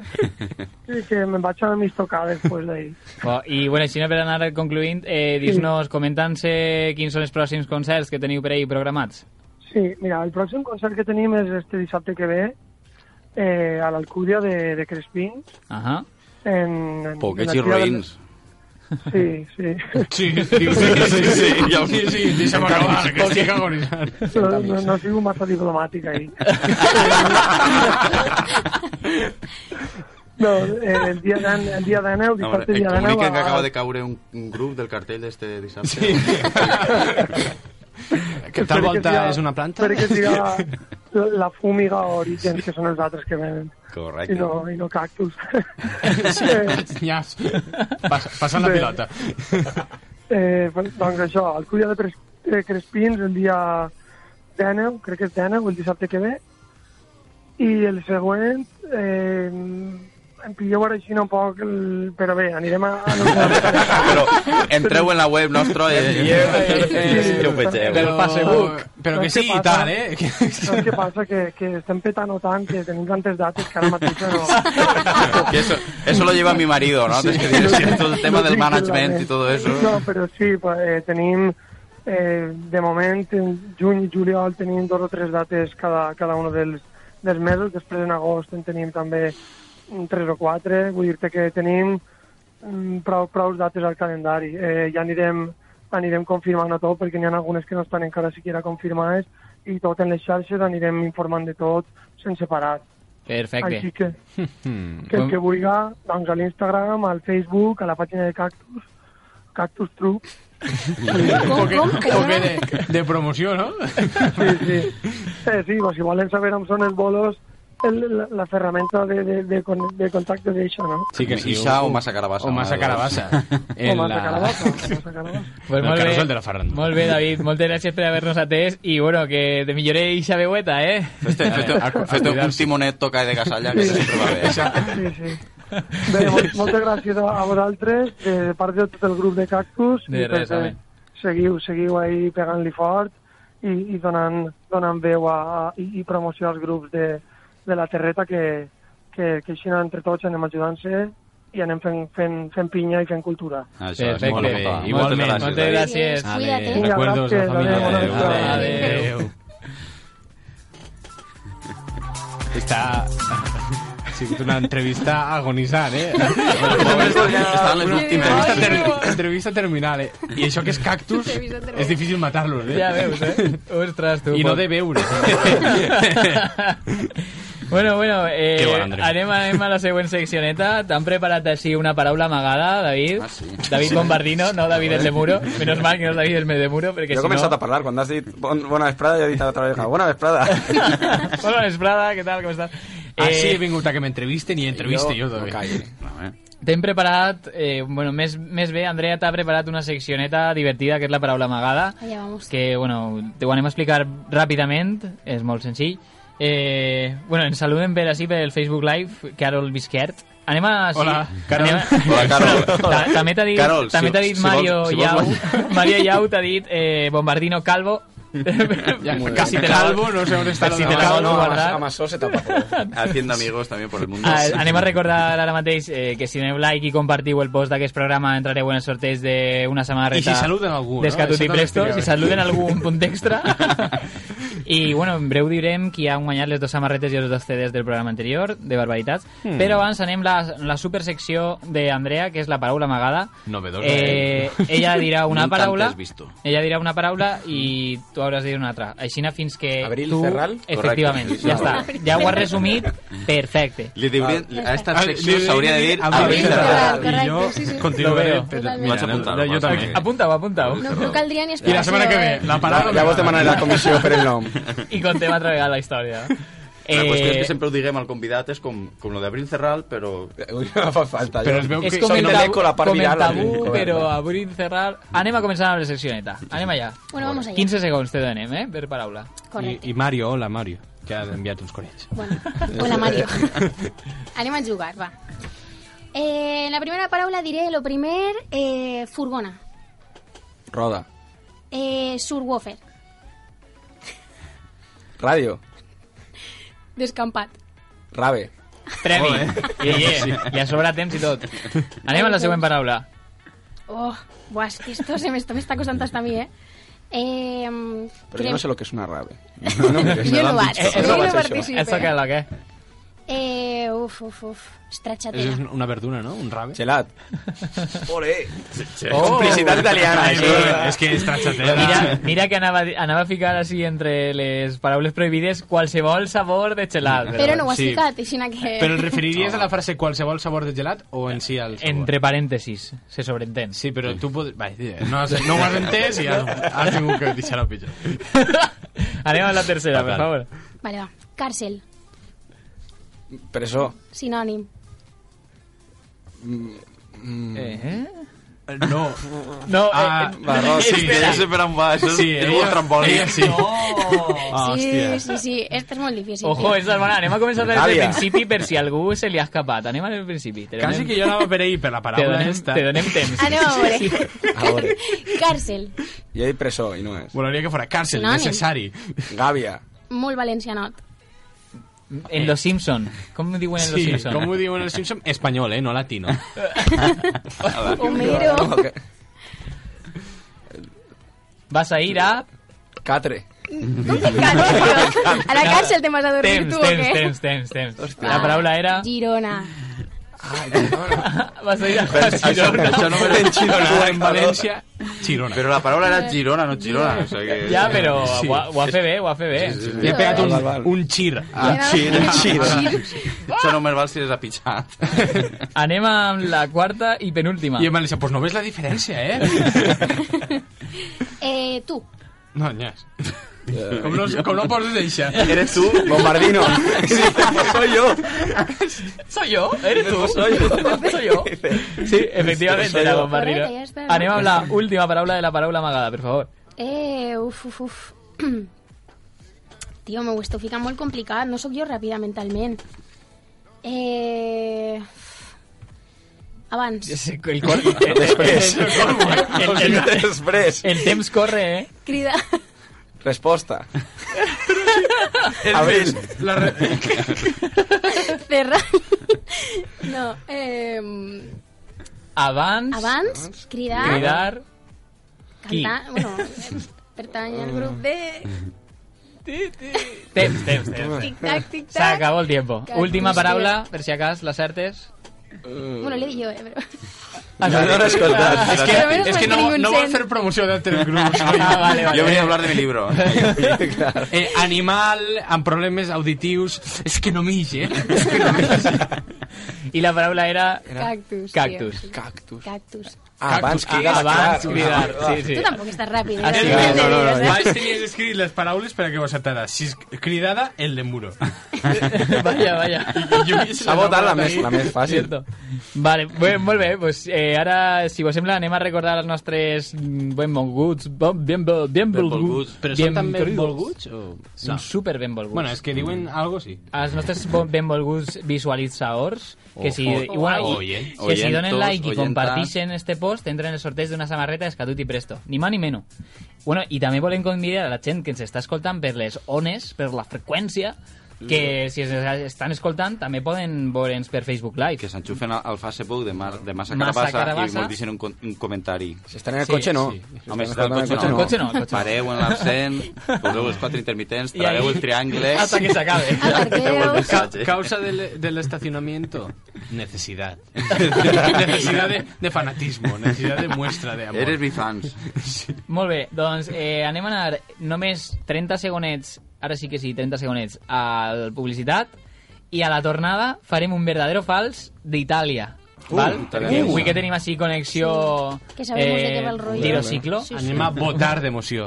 i que me'n vaig anar a mis tocar després d'ahir. Bo, I, bueno, així per anar concluint, eh, dis-nos, comentant-se quins són els pròxims concerts que teniu per ahir programats. Sí, mira, el pròxim concert que tenim és este dissabte que ve eh, a l'Alcúdia de, de Crespins. Ahà. En, en, <laughs> Poquets en i la tira del- roïns. Sí, sí. Sí, sí, sí, sí, ja, sí, sí, deixa'm acabar, que estic agonitzant. No, no, no sigo massa diplomàtic ahir. no, eh, el dia d'an- el dia de neu, No, dissabte hombre, em dia de neu... comuniquen que a- acaba de caure un, un grup del este cartell d'este dissabte. <laughs> Que tal Espero que volta siga- és una planta? Espero que siga <laughs> la, la fúmiga o origen, que són els altres que venen, i <laughs> Correcte. no, i no cactus. Nyas. Pas, passant la Eh. Bé. pilota. Eh, doncs això, el Culla de Pres- de Crespins el dia 19, crec que és 19, el dissabte que ve, i el següent, eh, em pilleu ara així un poc, el... però bé, anirem a... <laughs> a Però entreu en la web nostra i... eh, Que ho vegeu. Però, Facebook. però que Saps què sí i passa? tal, eh? Saps què passa? Que, que estem petant o tant que tenim tantes dates que ara mateix <laughs> no... Que eso, eso lo lleva mi marido, ¿no? Es que tienes todo el tema del management y todo eso. No, però sí, pa- eh, tenim... Eh, de moment, en juny i juliol tenim dos o tres dates cada, cada un dels, dels mesos. Després, en agost, en tenim també mm, tres o quatre. Vull dir-te que tenim mm, prou, prou dates al calendari. Eh, ja anirem, anirem confirmant a tot, perquè n'hi ha algunes que no estan encara siquiera confirmades, i tot en les xarxes anirem informant de tot sense parar. Així Perfecte. que, Hmm. que el que vulga, doncs a l'Instagram, al Facebook, a la pàgina de Cactus, Cactus Truc. O que, o que <laughs> de, de promoció, no? Sí, sí. Eh, sí, o si volen saber on són els bolos, el- la, la ferramenta de, de, de, con- de contacte d'això, no? Sí que sí. Isa o- o massa carabassa. o massa carabassa. <laughs> En o massa carabassa, o massa carabassa. Pues El molt bé. carrusel de la farranda. Molt bé, David. Moltes gràcies per haver-nos atès i, bueno, que te milloré ixa veueta, eh? Fes-te A- a fes-te- fes-te un cuidar-se. timonet toca de gasalla, que sempre va bé. Sí, sí. Bé, mol, moltes gràcies a, a vosaltres, de, de part de tot el grup de Cactus. De i res, perquè home. Seguiu, seguiu ahí pegant-li fort i, i donant, donant veu a, a, i, i promoció als grups de, de la terreta que, que, que així entre tots anem ajudant-se i anem fent, fent, fent pinya i fent cultura. Això és Perfecte. molt Molt bé. important. Igualment, Moltes gràcies, David. moltes gràcies. Gràcies. Cuídate. Vinga, Eh, Recuerdos a la gràcies, familia. adéu, bona Adéu. vesprada. Adéu. Está... <laughs> Ha sigut una entrevista agonizant, eh? Estaven les últimes. entrevista, ter entrevista terminal, eh? I això que és cactus, és difícil matar-los, eh? Ja veus, eh? Ostres, tu. I no Pol. de veure. <laughs> bueno, bueno, eh, Que bona entrevista. anem, anem a la següent seccioneta. T'han preparat així una paraula amagada, David. Ah, sí. David Bombardino, no David el de Muro. Menos mal que no és David el de Muro, perquè Jo he si començat no... a parlar, quan has dit bon, bona vesprada, jo he dit a l'altra vegada, bona vesprada. <laughs> <laughs> Hola, Vesprada, què tal, com estàs? Ah, Eh, Així he vingut a que m'entrevisten i entreviste jo, no també. callo. Home, T'hem preparat, eh, bueno, més, més bé, Andrea t'ha preparat una seccioneta divertida, que és la paraula amagada, Allà vamos. que, bueno, te ho anem a explicar ràpidament, és molt senzill. Eh, bueno, ens saludem per així pel Facebook Live, Carol Bisquert. Anem a... Hola, Carol. Hola, Carol. Ta- També t'ha dit, Carol, també si- t'ha dit si vols- Mario si vols Yau. guanyar. <laughs> Mario Yau t'ha dit eh, Bombardino Calvo. <laughs> Ja, Per casi te la- calvo, no sé on està per lo si de te la Mario. vols No, guardar. amb això se tapa. joder. Haciendo amigos también por el mundo. Ah, anem a recordar ara mateix eh, que si doneu like i compartiu el post d'aquest programa entrareu en el sorteig d'una samarreta I si saluden algú, no? d'Escatut Això i també Presto, estaria si bé. saluden algú un punt <laughs> extra i bueno, en breu direm qui ha guanyat les dues samarretes i els dos CDs del programa anterior de Barbaritats, Hmm. però abans anem la, la supersecció d'Andrea que és la paraula amagada Novedosa, eh, ella dirà una Nunca paraula antes visto. ella dirà una paraula i tu hauràs de dir una altra aixina fins que Abril tu Ferral? efectivament, Correcte. ja està, <laughs> ja ho has resumit perfecte Li diurien, a esta Ah, secció li- s'hauria de li- dir Abril Abril Ferral. Ferral. Correcte, I jo sí, sí. continuaré. Lo veo. Mira, Vaig apuntar-ho, no, jo vaig també. Apunta-ho, apunta-ho. No, no caldria ni I explicació. la setmana que ve, eh? la paraula... Llavors demanaré la comissió per el nom. I contem altra vegada la història. La qüestió és Eh, que sempre ho diguem al convidat, és com, com lo d'Abril Ferral, però... Ui, no fa falta. Però jo. es veu és que... com el no tabú, leco la part com el viral, tabú eh? però abrir i cerrar... Anem a començar amb la seccioneta. Anem allà. Bueno, vamos allá. 15 segons te donem, eh, per paraula. Correcte. I, I Mario, hola, Mario, que has enviat uns corells. <laughs> Bueno, hola Mario. <laughs> Anem a jugar, va. Eh, en la primera paraula diré lo primer, eh, furgona, Roda. eh, surwoofer, Ràdio. descampat, Rave. Premi. I, i, I a sobre temps i tot. Anem a la següent paraula. Oh, buah, es que esto se me está, me está costando hasta a mí, ¿eh? eh Però crem- jo no sé lo que és una rave. <laughs> No, no, me- Yo no vaig, Eh, eh, yo no no vaig, això. participé. Esto que és la que... Eh, uf, uf, uf, És estrachatera. un- una verdura, no? Un rave. Gelat. Oh! Complicitat italiana, Ai, això. no, Ah, és que és trachatera. Mira, mira que anava, a dir- anava a ficar així entre les paraules prohibides qualsevol sabor de xelat. Pero no ho has Sí. ficat, aixina que... Però el referiries a la frase qualsevol sabor de gelat o en si al sabor? Entre parèntesis, se <laughs> sobreentén. Sí, però tu pots... Vai, no, has, no ho has entès i has, has tingut que deixar-ho pitjor. Anem a la tercera, per Fatal. favor. Vale, va. Càrcel, Presó. sinònim. Eh? No. No, Ah, eh, va, no, sí, espera. és- per on va, això Sí, ella, ella sí. Ah, sí, hòstia. sí, sí, este és molt difícil. Ojo, tio. és bona. Anem a començar des del Gàbia. principi per si algú se li ha escapat. Anem al principi. Te Quasi donem- que jo anava per ahir, per la te paraula donem, esta. te donem temps. Anem a veure. A veure. Càrcel, Jo he dit presó i no és. Volaria que fora càrcel, Sinònim. necessari. Gàbia. molt valencianot. En Los Simpson. Com ho diuen en Los Sí, Simpson? com ho diuen els Simpson? Espanyol, eh? No latino. Homero, No, que- Vas a ir a... Catre. com que càrcel? A la càrcel te vas a dormir Temps, tu o temps, què? Ah. temps, temps, temps. La paraula era... Girona. <laughs> Vas a ir a Juan Girona. Això no <laughs> En me Girona, en València, Girona. Però la paraula era Girona, no Girona. O sigui que... Ja, però Sí. ho ha, ho ha fet bé, ho ha fet bé. Li ha pegat Val, val, un, val. un xir. Ah, Girona. Això només val si les ha <laughs> pitjat. Anem amb la quarta i Ah. penúltima. I en València, pues no <laughs> ves la diferència, eh? Eh, tu, No, nyes. Com no, com no pots <laughs> deixar. Eres tu, bombardino. <laughs> Sí, pues soy yo. ¿Soy yo? ¿Eres tú? Soy yo. <laughs> ¿Soy yo? Sí, efectivamente, Soy era yo. bombardino. Correcte, ja està. Anem a la última paraula de la paraula amagada, per favor. Eh, uf, uf, uf. Tio, m'ho esteu ficant molt complicat. No sóc jo ràpida mentalment. Eh... Abans. <laughs> El, cor... Després. El, el, Després. el temps corre, eh? Crida. Resposta. Abril. La re... <laughs> Cerra. No. Eh... Abans, Abans. Cridar. cridar... qui? Cantar. Bueno, eh, pertany al grup de... Temps, temps, temps. Tic-tac, tic-tac. S'acabó el tiempo. Cat- Última Hòstia. paraula, per si acas l'acertes. Bueno, l'he dit jo, eh, però... Ah, No, no l'he escoltat. És que, Però almenys Es que quan no, tinc un no vol cent. fer promoció d'altres grups. Ah, vale, vale. Yo venía a hablar de mi <laughs> libro. Eh, animal amb problemes auditius... És que no eh. m'ige. És que no m'ige. I la paraula era... Cactus. tio. Cactus. Cactus. Cactus. Ah, abans que hagas Abans clar. cridar, sí, sí. Tu tampoc estàs ràpid, eh? Ah, sí, Realment no, no, te no, dius, eh? Vaig tenies escrit les paraules per a que ho acertara. Si és cridada, el de muro. <laughs> Vaya, vaya. S'ha votat la més, la més fàcil. Cierto. Vale, bé, molt bé, pues, eh, ara, si vos sembla, anem a recordar els nostres mm, ben volguts, bon- ben, bo- ben, volguts, Però ben són també queridos. volguts o...? Són super ben volguts. Bueno, és que Mm. diuen algo, sí. els nostres bo- benvolguts visualitzadors que si, Ojo. i, bueno, i- Oyen- que si donen oyentos, like i oyentas. comparteixen este post entren en el sorteig d'una samarreta d'Escatut i Presto ni mà ni menys bueno, i també volem convidar a la gent que ens està escoltant per les ones, per la freqüència que si ens estan escoltant també poden veure'ns per Facebook Live Que s'enxufen al, al Facebook de, Mar, de Massa Massa Carabassa i Carabassa. mos deixen un, con- un comentari. Si estan en el Sí, cotxe, no. sí. Si Home, si estan el escoltant cotxe, el cotxe no. no. El cotxe no. Pareu en l'absent, poseu els quatre intermitents, I ahí- tragueu el triangle... Ah, hasta que s'acabe Aparqueu el missatge. Causa del, del estacionamiento, necesidad. <laughs> necesidad de, de fanatismo, necesidad de muestra de amor. Eres mi fans. Molt bé, doncs eh, anem a anar només 30 segonets, ara sí que sí, 30 segonets, al publicitat i a la tornada farem un verdadero fals d'Itàlia. Uh, val? italianisme. Perquè avui que tenim així connexió... eh, Sí, que sabem molt de què va el rotllo. Girociclo. Sí, Anem a votar d'emoció.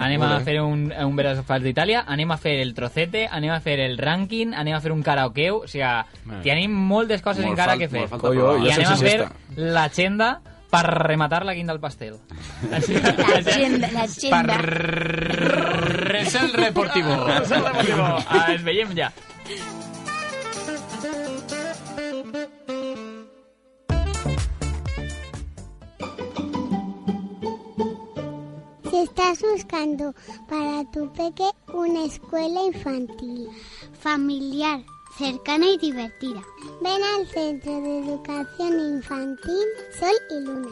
Anem a fer un, un verdadero fals d'Itàlia, anem a fer el trocete, anem a fer el rànquing, anem a fer un karaokeu, o sigui, tenim moltes coses Molt encara fal- que fer. molt falta Coi, oi, programa. I jo anem sense a fer siesta. l'agenda per rematar la guinda al pastel. L'agenda, l'agenda. Res el reportivo. <laughs> Ah, ens veiem ja. Si estás buscando para tu peque una escuela infantil, familiar, cercana y divertida, ven al Centro de Educación Infantil Sol y Luna.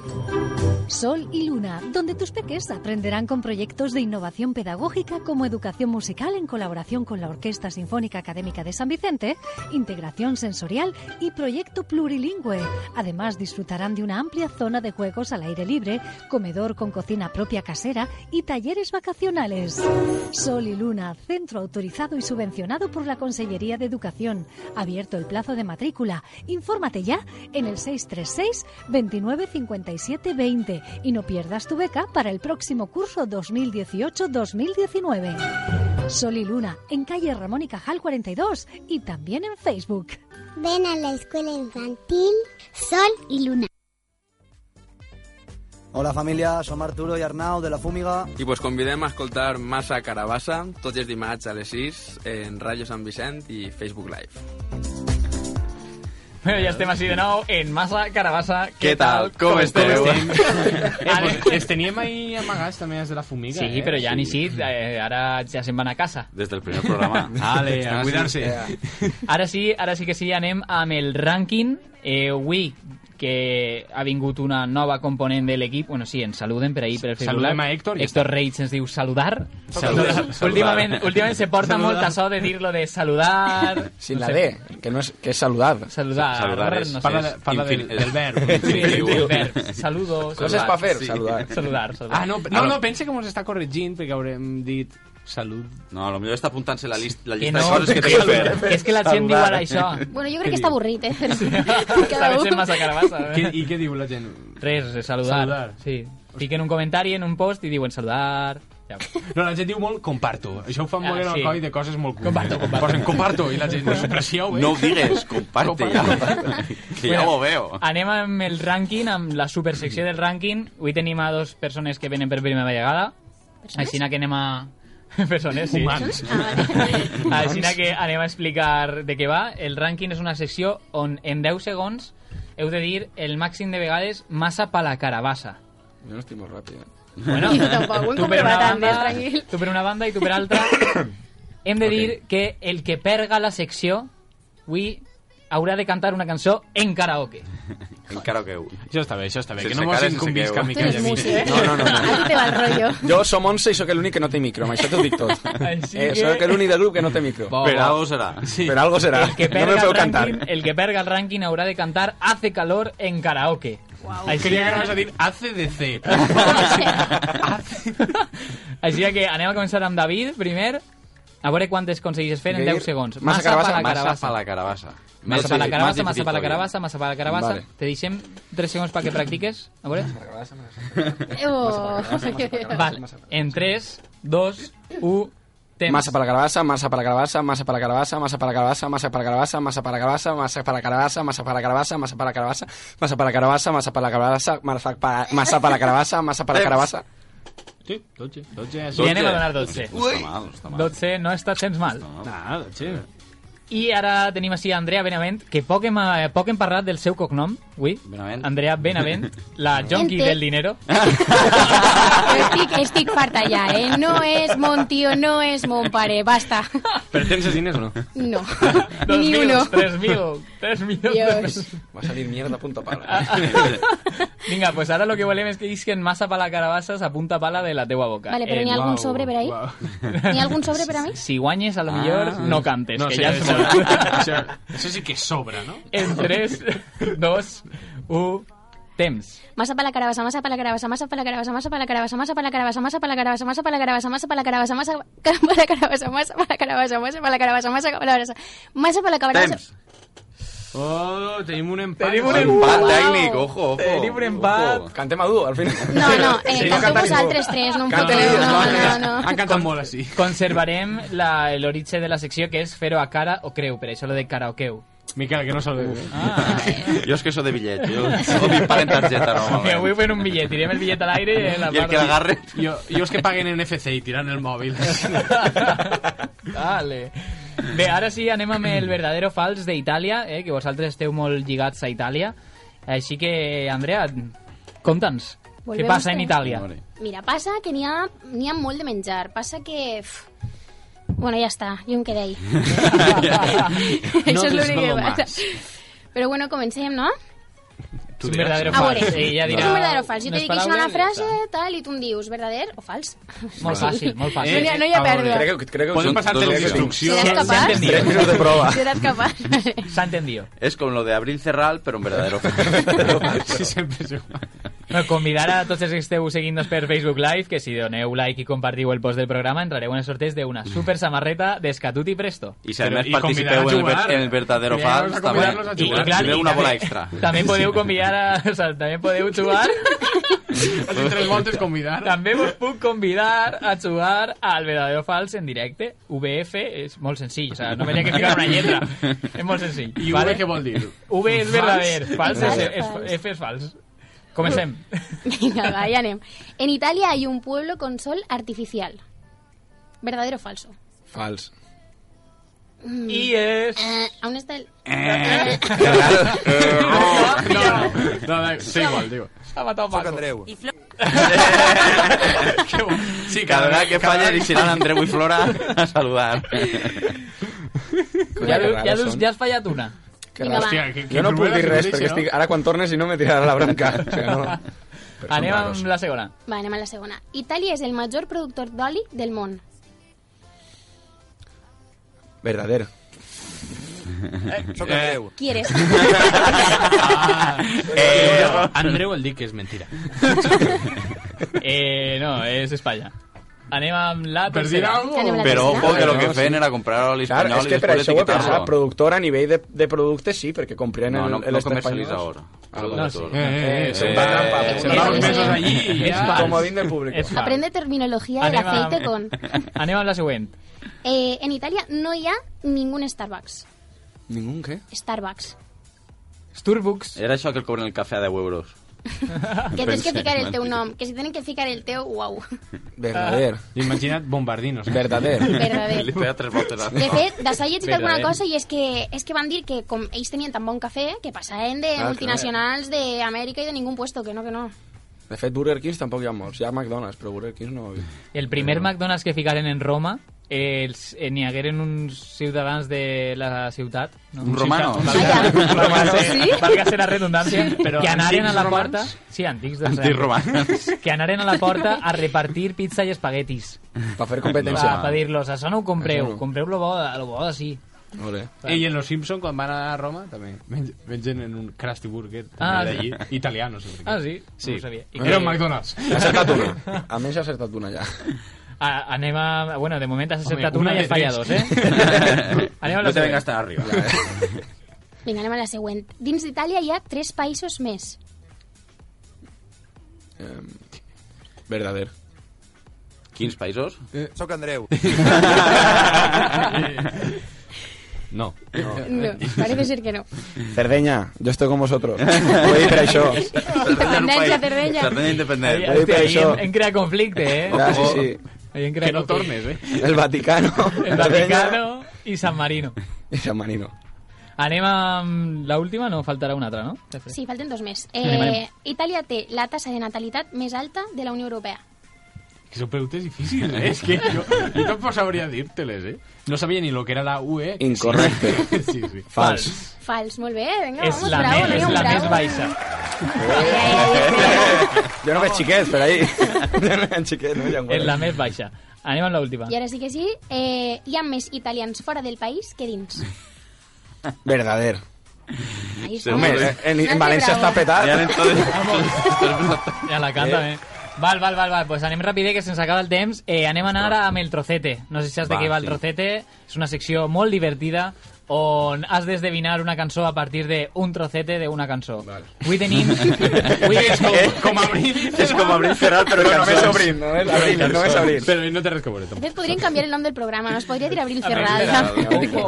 Sol y Luna, donde tus peques aprenderán con proyectos de innovación pedagógica como educación musical en colaboración con la Orquesta Sinfónica Académica de San Vicente, integración sensorial y proyecto plurilingüe. Además, disfrutarán de una amplia zona de juegos al aire libre, comedor con cocina propia casera y talleres vacacionales. Sol y Luna, centro autorizado y subvencionado por la Consellería de Educación. Abierto el plazo de matrícula. Infórmate ya en el 636 29 57 20 y no pierdas tu beca para el próximo curso 2018-2019. Sol y Luna, en calle Ramón y Cajal 42 y también en Facebook. Ven a la escuela infantil Sol y Luna. Hola familia, som Arturo i Arnau de La Fúmiga. I vos convidem a escoltar Massa Carabassa tots els dimarts a les 6 en Ràdio Sant Vicent i Facebook Live. Bueno, ja estem així de nou en Massa Carabassa. Què tal? Com esteu? Eh, pues, les teníem ahí amagats també des de la fumiga. Sí, eh? però ja ni sí, eh, ara ja se'n van a casa. Des del primer programa. Ale, a Ah, sí. cuidar-se. Ara sí, ara sí que sí, anem amb el rànquing. Eh, avui, que ha vingut una nova component de l'equip. Bueno, sí, ens saluden per ahir, per el Facebook Saludem Live. a Héctor i ja Héctor Reig ens diu saludar. Saludar. Últimament, últimament se porta Saludar. molt a so de dir lo de saludar... Sin no la sé, D, que, no és, que és saludar. Saludar, Saludar és- no sé. Parla, de- parla del, Infin- del verb. <laughs> Sí, Infinitiu. verb, saludo, Coses saludar. pa fer, sí. saludar. Saludar, saludar. Ah, no, no, no, pense que mos està corregint perquè haurem dit salut. No, lo millor està apuntant-se la, list, la Que llista no, de <laughs> coses que té que, que fer. que és que la gent diu ara això. <laughs> Bueno, jo crec que està avorrit, eh? Però <laughs> Cada Cada vez un. massa carabassa. eh? Què, I què diu la gent? Res, de saludar. Saludar. Sí. Fiquen un comentari en un post i diuen saludar. No, la gent diu molt comparto. Això ho fan Ah, molt en el sí. coll de coses molt curioses. Comparto, comparto. Posen comparto i la gent, pues, precieu, eh? No ho digues, comparte, ja. <laughs> que ja Bueno, ho veo. Anem amb el rànquing, amb la supersecció del rànquing. Avui tenim a dos persones que venen per primera vegada. Persones? Així que anem a... <laughs> Persones, sí. Humans. Ah, <laughs> <laughs> Així que anem a explicar de què va. El rànquing és una secció on en 10 segons heu de dir el màxim de vegades massa pa la <laughs> carabassa. Yo no estoy muy rápido. Bueno, Yo tampoco, voy tu per una comprobant, eh, banda, tranquil. tu per una banda i tu per <coughs> altra. Hem de dir que el que perga la secció avui haurà de cantar una cançó en karaoke. Encara que ho... Això està bé, això està bé, Sense que no mos cara, sense inconvisca que ho- Miquel i a mi. No, no, no. no. ¿eh? te va el rollo. Jo som 11 i sóc l'únic que no té micro, amb això t'ho dic tot. Així Eh, que- sóc l'únic del grup que no té micro. Bo, Per bo. algo serà. Sí. Per algo serà. El que No perga me feu el cantar. ranking, el que perga el ranking haurà de cantar Hace calor en karaoke. Wow. Creia que anaves a dir ACDC. <laughs> Així que anem a començar amb David, primer. A veure quantes aconsegueixes fer en 10 segons. pa la Massa carabassa. pa la carabassa. Massa pa la carabassa, massa pa la difícil carabassa, massa pa la carabassa. Vale. Te deixem 3 segons perquè practiques. A veure. Massa carabassa, Oh. Vale, en 3, 2, 1, temps. Massa per la carabassa, massa per la carabassa, massa per la carabassa, massa per la carabassa, massa per la carabassa, massa per la carabassa, massa per la carabassa, massa per la carabassa, massa per la carabassa, massa per la carabassa, massa per la carabassa, massa per massa per la carabassa, massa per la carabassa. Sí, 12, 12. Li anem a donar 12. No està mal, no està mal. 12 no està gens mal. Ah, 12. I ara tenim així a Andrea Benavent, que poc hem, eh, poc hem parlat del seu cognom, avui. Benavent. Andrea Benavent, la junkie Ente. del dinero. Estic, estic farta ja, eh? No és mon tio, no és mon pare, basta. Pretenses diners o no? No. Dos Ni mil, uno. tres mil, tres mil. Dios. Va a salir mierda a punta pala. Vinga, pues ara lo que volem és que isquen massa pala carabassas a punta pala de la teua boca. Vale, però Eh, n'hi ha algun sobre per ahí? N'hi ha algun sobre per a mi? Si guanyes, a lo millor Ah. no cantes, No, que sí, ja això- <laughs> és això- molt. Això sí que sobra, no? En 3, 2, 1, temps. Massa per la carabassa, massa per la carabassa, massa per la carabassa, massa per la carabassa, massa per la carabassa, massa per la carabassa, massa per la carabassa, massa per la carabassa, massa per la carabassa, massa per la carabassa, massa per la carabassa, massa per la carabassa, massa per la carabassa. Oh, tenim un empat. Tenim un empat Wow. tècnic, ojo, ojo. Tenim un empat. Cantem a dur, al final. No, no, eh, Sí, no canteu canta vosaltres ningú. tres, no em Canten fotem. ells, No, no, no, ells. no. Han cantat molt així. Conservarem la- el oritge de la secció, que és fer-ho a cara o creu, per això lo de karaokeu. Miquel, que no sol... Ah. Jo és que sóc de bitllet. Jo o mi pare en targeta, no. Me voy un billet, tirem el billet a l'aire i eh, la I el part- que l'agarre... Jo, jo els que paguen en FC i tirant el mòbil. <laughs> Vale. Bé, ara sí, anem amb el verdadero fals d'Itàlia, eh, que vosaltres esteu molt lligats a Itàlia. Així que, Andrea, conta'ns, què Volvemos passa en de- Itàlia? Mira, passa que n'hi ha, n'hi ha molt de menjar. Passa que... Uf, bueno, ja està, jo em quedé ahí. Això és l'únic que necesito passa. más. Però bueno, comencem, no? És un verdadero A fals. veure, Ella dirà és Ah, un verdadero o fals. Jo unes t'he dit una paraules i ja frase, està. tal, i tu em dius verdader o fals. <laughs> Molt fàcil, molt fàcil. No hi ha- no hi ha a veure, pèrdua. Crec que, crec que Podem Són passar-te dos les opcions. <laughs> instruccions. Seràs capaç? S'ha entendido. Tres minuts de prova. Seràs <laughs> capaç. S'ha entendido. És com lo de Abril Cerral, però un verdadero. <laughs> Sí, sempre és igual. Bueno, convidar a tots els que esteu seguint-nos per Facebook Live que si doneu like i compartiu el post del programa entrareu en el sorteig d'una super samarreta d'Escatut i Presto. I si a Però- més i participeu en el, convidar a ver- jugar. en el verdadero Convidar-los fals, a també convidar-los a i, jugar. clar, una també- bola <laughs> extra. També podeu convidar a... O sea, també podeu <laughs> jugar... Has <laughs> tres voltes convidar. També vos puc convidar a jugar al verdadero o fals en directe. VF és molt senzill, o sea, no m'hauria que ficar una lletra. És molt senzill. I vale? V què vol dir? V és verdader, fals, és, Fals. és, F és fals. Comencem. Vinga, va, ja anem. En Itàlia hay un pueblo con sol artificial. Verdadero o falso. Fals. I és... Eh, aún está el... No, no, no, sí, igual, diu. Ha matat Paco. Que bo. Sí, Cada vegada que cada falla vegada- deixaran Andreu i Flora <laughs> a saludar. Ja, Que ja, rares ja, són. ja has fallat una. Que Vinga, raro. va. Hòstia, que, que Jo no puc primera dir que res, ho perquè deixi, no? estic, ara quan tornes i no me tirarà la branca. O sigui, no. Però són Anem raros. amb la <laughs> segona. Va, anem a la segona. Itàlia és el major productor d'oli del món. Verdadero. Sóc Andreu. Qui eres? Eh, <laughs> Andreu el dic que és mentira. Eh, no, és Espanya. anem amb la Per tercera. dir alguna Anem a la Però tercera. ojo que lo No, que sí. feien era comprar l'oli espanyol Claro, es i que per després això ho he etiquetar-lo. pensat, productor a nivell de, de producte sí, perquè comprien No, el, no, el no este comercializador. español. Productor. no, sí. Eh, eh, eh, es una eh, trampa. eh, Una eh, trampa. eh, eh, y eh, ya. <laughs> eh, Comodín del público. És fals. Aprende terminología del Anem aceite con... amb- <laughs> Anem amb la següent. Eh, en Italia no hi ha ningún Starbucks. ¿Ningún qué? Starbucks. Starbucks. Era això que el cobren el cafè a 10 euros. Ah. Que tens que Pensé, ficar el teu mentida. nom, que si tenen que ficar el teu, uau. Verdader. Imagina't bombardinos. Verdader. <laughs> <laughs> Verdader. Li pega tres voltes a De fet, de s'ha llegit Espera, alguna eh? cosa i és que, és que van dir que com ells tenien tan bon cafè que passaven Ah, de clar. multinacionals d'Amèrica i de ningú puesto, que no, que no. De fet, Burger Kings tampoc hi ha molts. Hi ha McDonald's, però Burger Kings no... El primer McDonald's que ficaren en Roma eh, els- eh, n'hi hagueren uns ciutadans de la ciutat. No? Un romano. Ah, Ciutadans. Un romano. Sí? Valga ser la redundància. Sí. Però que anaren a la Antics porta... romans? Sí, antics. Doncs, Antics romans. Que anaren a la porta a repartir pizza i espaguetis. Per <laughs> fer Va, competència. a pedir-los, això no ho compreu, Això no. compreu lo bo, lo bo de sí. Ole. Ell en Los Simpson quan van a Roma, també, men- mengen en un Krusty Burger, Ah, també d'allí, sí. italià, no sé per què. Ah, sí? No ho sabia. I Era que- un McDonald's. Ha acertat una. A més, ha acertat una ja. A, anem a... Bueno, de moment has Home, acceptat una una, de i has fallat dos, tres. <laughs> eh? anem a la No te següent. vengas tan arriba. Vinga, anem a la següent. Dins d'Itàlia hi ha tres països més. Em, Verdader. <laughs> Quins països? Eh, Soc Andreu. <laughs> No. Ah, No, eh. parece <laughs> ser que no. Cerdeña, yo estoy con vosotros. Ho he dit per <laughs> això. Independència, Cervella. Cervella independent. Hòstia, Vull dir ahí això. hem, hem creat conflicte, eh? Ah, sí, sí. Ahí hem creat Que no tornes, conflicte. eh? El Vaticano. El Vaticano i San Marino. I San Marino. Anem amb l'última, no? Faltarà una altra, no? Sí, falten dos més. Anem, Eh, anem. Itàlia té la tassa de natalitat més alta de la Unió Europea. Que són preguntes difícils, eh? És que jo, jo tampoc sabria dir-te-les, eh? No sabia ni lo que era la UE. Incorrecte. <laughs> Sí, sí. Fals. Fals, molt bé, vinga, És vamos, la bravo, més- Daniel, és la bravo. més baixa. Oh. Jo no veig xiquets per ahí. Jo no veig xiquets, no veig És la més baixa. Anem amb l'última. I ara sí que sí, eh, hi ha més italians fora del país que dins. Verdader. Ahí Sí, home, estamos. eh, en, en Nazi València Bravo. està petat. Ja anem tots- Ja <laughs> Ja la canta, eh? Val, val, val, val. Pues anem ràpid, eh, que se'ns acaba el temps. Eh, anem a anar amb el trocete. No sé si saps de Va, què va el sí. trocete. És una secció molt divertida on has d'esdevinar una cançó a partir d'un trocete d'una cançó. Vale. Avui tenim... Avui és com, com abrir... És com abrir cerrar, però Però cançons. només obrir, només abrir, només abrir. Però ¿eh? no té res que veure, De tampoc. fet, podríem canviar el nom del programa, nos podria dir Abril Cerrada.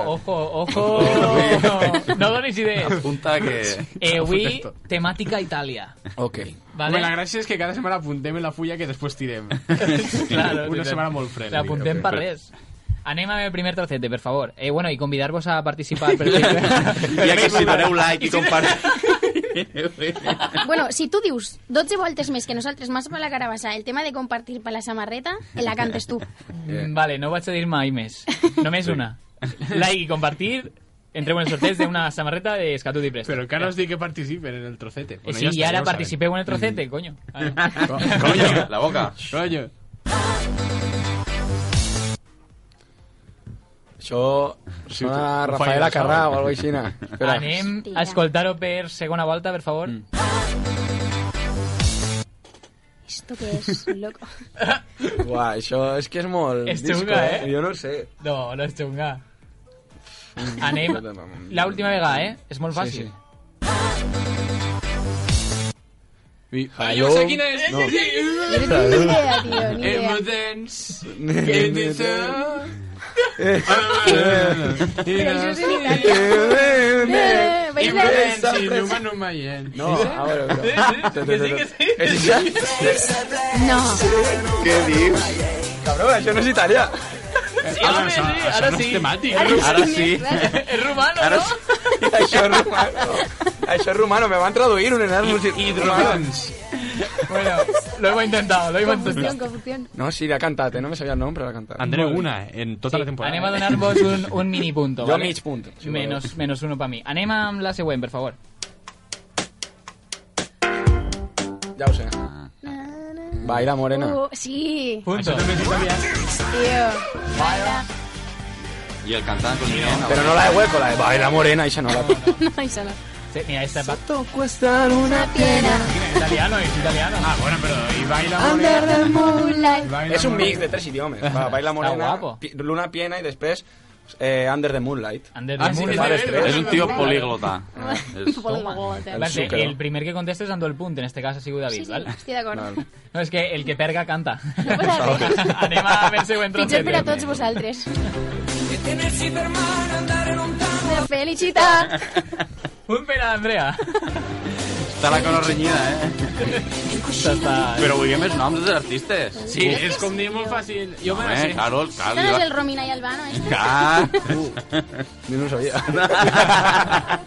Ojo, ojo, ojo. No donis idees. Apunta que... Eh, avui, temàtica Itàlia. Ok. Vale. Home, la gràcia és que cada setmana apuntem en la fulla que després <laughs> tirem. Claro, Una sí, setmana molt freda. L'apuntem diguem. per res. Anem amb el primer trocete, per favor. Eh, bueno, i convidar-vos a participar. Per Ja que si doneu <laughs> like i compartiu... <laughs> <laughs> Bueno, si tu dius 12 voltes més que nosaltres más per la carabassa el tema de compartir per la samarreta, la cantes tu. Mm, Vale, no vaig a dir mai més. Només una. Like i compartir, entreu en el sorteig d'una samarreta de Escatut i Presto. Però encara us dic que participen en el trocete. Eh, sí, i està, ara ho participeu en el trocete, coño. saben. Coño, la boca. Coño. Això sona a ho faig, Rafaela ho saben. Carrà o alguna cosa <laughs> així. Espera. Anem a escoltar-ho per segona volta, per favor. Esto que es loco. Uà, això és que és molt És disco, xunga, eh? Jo no ho sé. No, no és xunga. Anem l'última vegada, eh? És molt fàcil. Sí, sí. Ah, jo sé quina és. No. Sí, sí. Yo no tengo ni idea, tío, ni <laughs> idea. Emotions. Que dice... Però això és en <laughs> Eh, veig la- Humano Mayen. No, ah, a veure, a veure. Que sí, que sí. És ja? No. <laughs> <laughs> Què dius? Cabró, això no és italià. Sí, home, sí, ara sí. Ara sí. És romano, Ara Ah, no? sí. això és romano. Això és romano, me van traduir un Erasmus. Hidrogans. Bueno, lo hemos intentado, lo hemos intentado. Confusión, confusión. No, sí, l'ha cantat, eh? No me sabia el nom, però l'ha cantat. Andreu, una, en tota la temporada. Anem a donar-vos un, un <laughs> mini punto. Jo ¿vale? mig punt. si voleu. Menos, menos uno para mí. Anem amb la següent, per favor. Ja ho sé. Baila morena. Uh, sí, Punto. tío. Vaya. I el cantant con el nen... Però <laughs> no la de hueco, la de Baila morena, això no la... No, això no. Sí, mira, esta pa- cuestan una piedra. italiano, es italiano. Ah, bueno, pero y baila Under the moonlight. És un mix de tres idiomes. Va, Baila Morena, Pi- Luna Piena i després eh, Under the Moonlight. Under the Ah, sí, Moonlight. és de veres, És un tio políglota. <laughs> Vale, y el primer que conteste es dando el punto, en este caso ha sido David, Sí, sí, ¿vale? estoy de acuerdo. Vale. No, es que el que perga <laughs> canta. Vosaltres. Anem a ver següent Pitjor per a trosset. tots vosaltres. La felicitat. Un per a Andrea. Està la cosa renyida, eh? ¿eh? Però volíem més noms dels artistes. Sí, és com dir molt fàcil. Jo me la Home, sé. claro, Este claro. no es el Romina y Albano, este. Claro. Yo no sabía.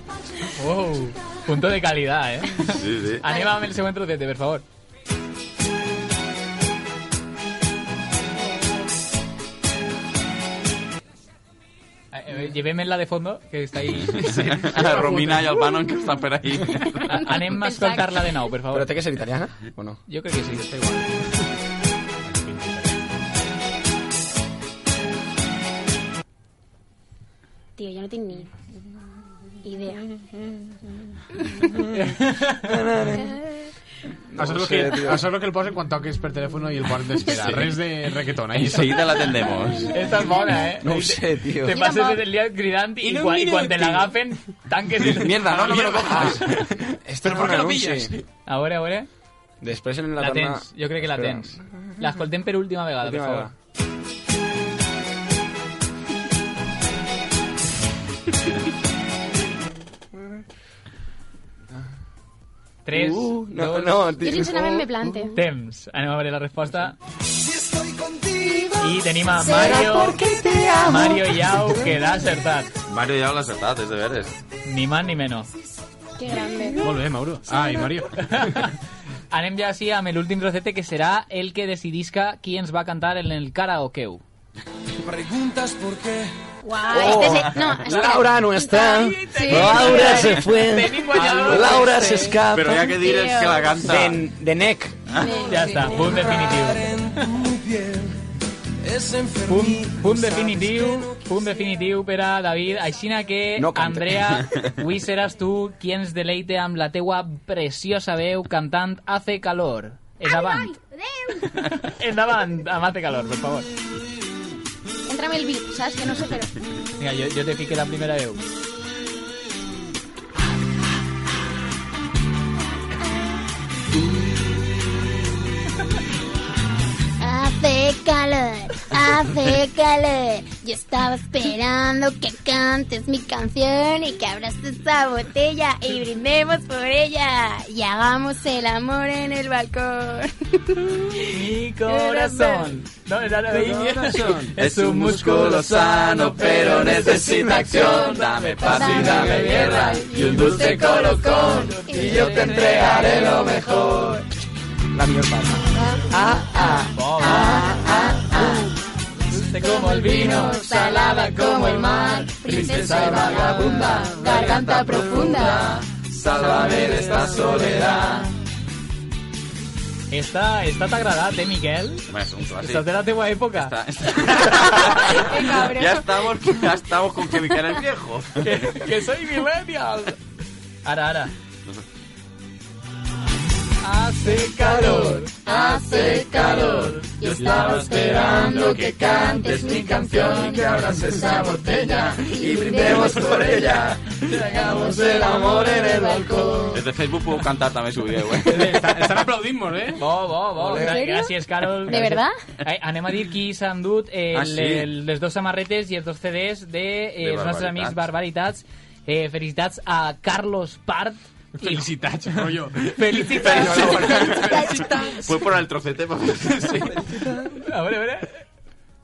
Wow, Oh, punto de calidad, ¿eh? Sí, sí. Anem amb el següent trosset, per favor. Eh, eh, Llevemos la de fondo, que <laughs> está ahí. Romina i el Bannon que estan per ahí. Anem a escoltar-la de nou, per favor. Però té que ser italiana, o no? Jo crec que sí, està igual. Tío, yo no tengo ni idea. No eso, es lo que, eso es lo que el posen quan toques per telèfon i el ponen d'espera. Sí. Res de reggaeton. ahí. <laughs> Enseguida la atendemos. Esta es bona, eh? No ho sé, tio. Te passes tot el dia cridant i, I no em quan, i miro, quan te tio. l'agafen, tanques <laughs> el... Mierda, no, no me lo cojas. Però per què lo pillas? A veure, a veure. Després en la, La torna- tens, jo crec que la Espera. tens. L'escoltem per última vegada, per Última favor. Tres, Uh, no, dos, no, Yo sinceramente me plante. Oh. Temps. Anem a veure la resposta. Y I tenim a Mario, Mario Yao, que l'ha acertat. Mario ja l'ha acertat, és de veres. Ni más ni menos. <laughs> Qué grande. Molt bé, Mauro. Ah, i Mario. Anem ja així amb l'últim trocete, que serà el que decidisca qui ens va cantar en el karaokeu. Preguntas por qué. Guau, este se- no, espera. Laura no está. Sí. Laura se fue. Tenim guanyador. Laura Sí. se escapa. Però ja que dir és que la canta. De, de Neck. Ja està, punt definitiu. Punt, punt definitiu, punt definitiu per a David. Aixina que, No cante. Andrea, avui seràs tu qui ens deleite amb la teua preciosa veu cantant Hace calor. Endavant. <laughs> Endavant, amb Hace calor, per favor. Entrame el beat, ¿sabes? Que no sé, pero... Mira, jo, jo te fique la primera veu. Hace calor, hace calor. Yo estaba esperando que cantes mi canción y que abras esta botella y brindemos por ella y hagamos el amor en el balcón. Mi corazón. No, no, no, no. Es un músculo sano, pero necesita acción. Dame paz y dame guerra y un dulce colocón. Y yo te entregaré lo mejor. La millor part. Ah, ah, ah, ah, ah. Dulce como el Este vino, salada como el mar. Princesa y vagabunda, garganta profunda. Sálvame de esta soledad. Esta, esta t'ha agradat, eh, Miquel? Home, és un clàssic. Estàs de la teua època. Està, <laughs> Ya estamos, ya estamos con que mi cara es viejo. que soy millennial. Ara, ara. Hace calor, hace calor. Yo estaba esperando que cantes mi canción y que abras esa botella y brindemos por ella. Y hagamos el amor en el balcón. Des de Facebook puedo cantar también su vídeo, eh? Estan aplaudint molt, eh? Bo, bo, bo. ¿En serio? Gràcies, Carol. ¿De Gràcies. verdad? Ai, anem a dir qui s'ha endut eh, Ah, el- sí? el- les dues samarretes i els dos CDs de, eh, De els nostres amics Barbaritats. Eh, felicitats a Carlos Part. Felicitats, rollo. Felicitats. Fue por el trocete, papá. Sí. A veure, a veure.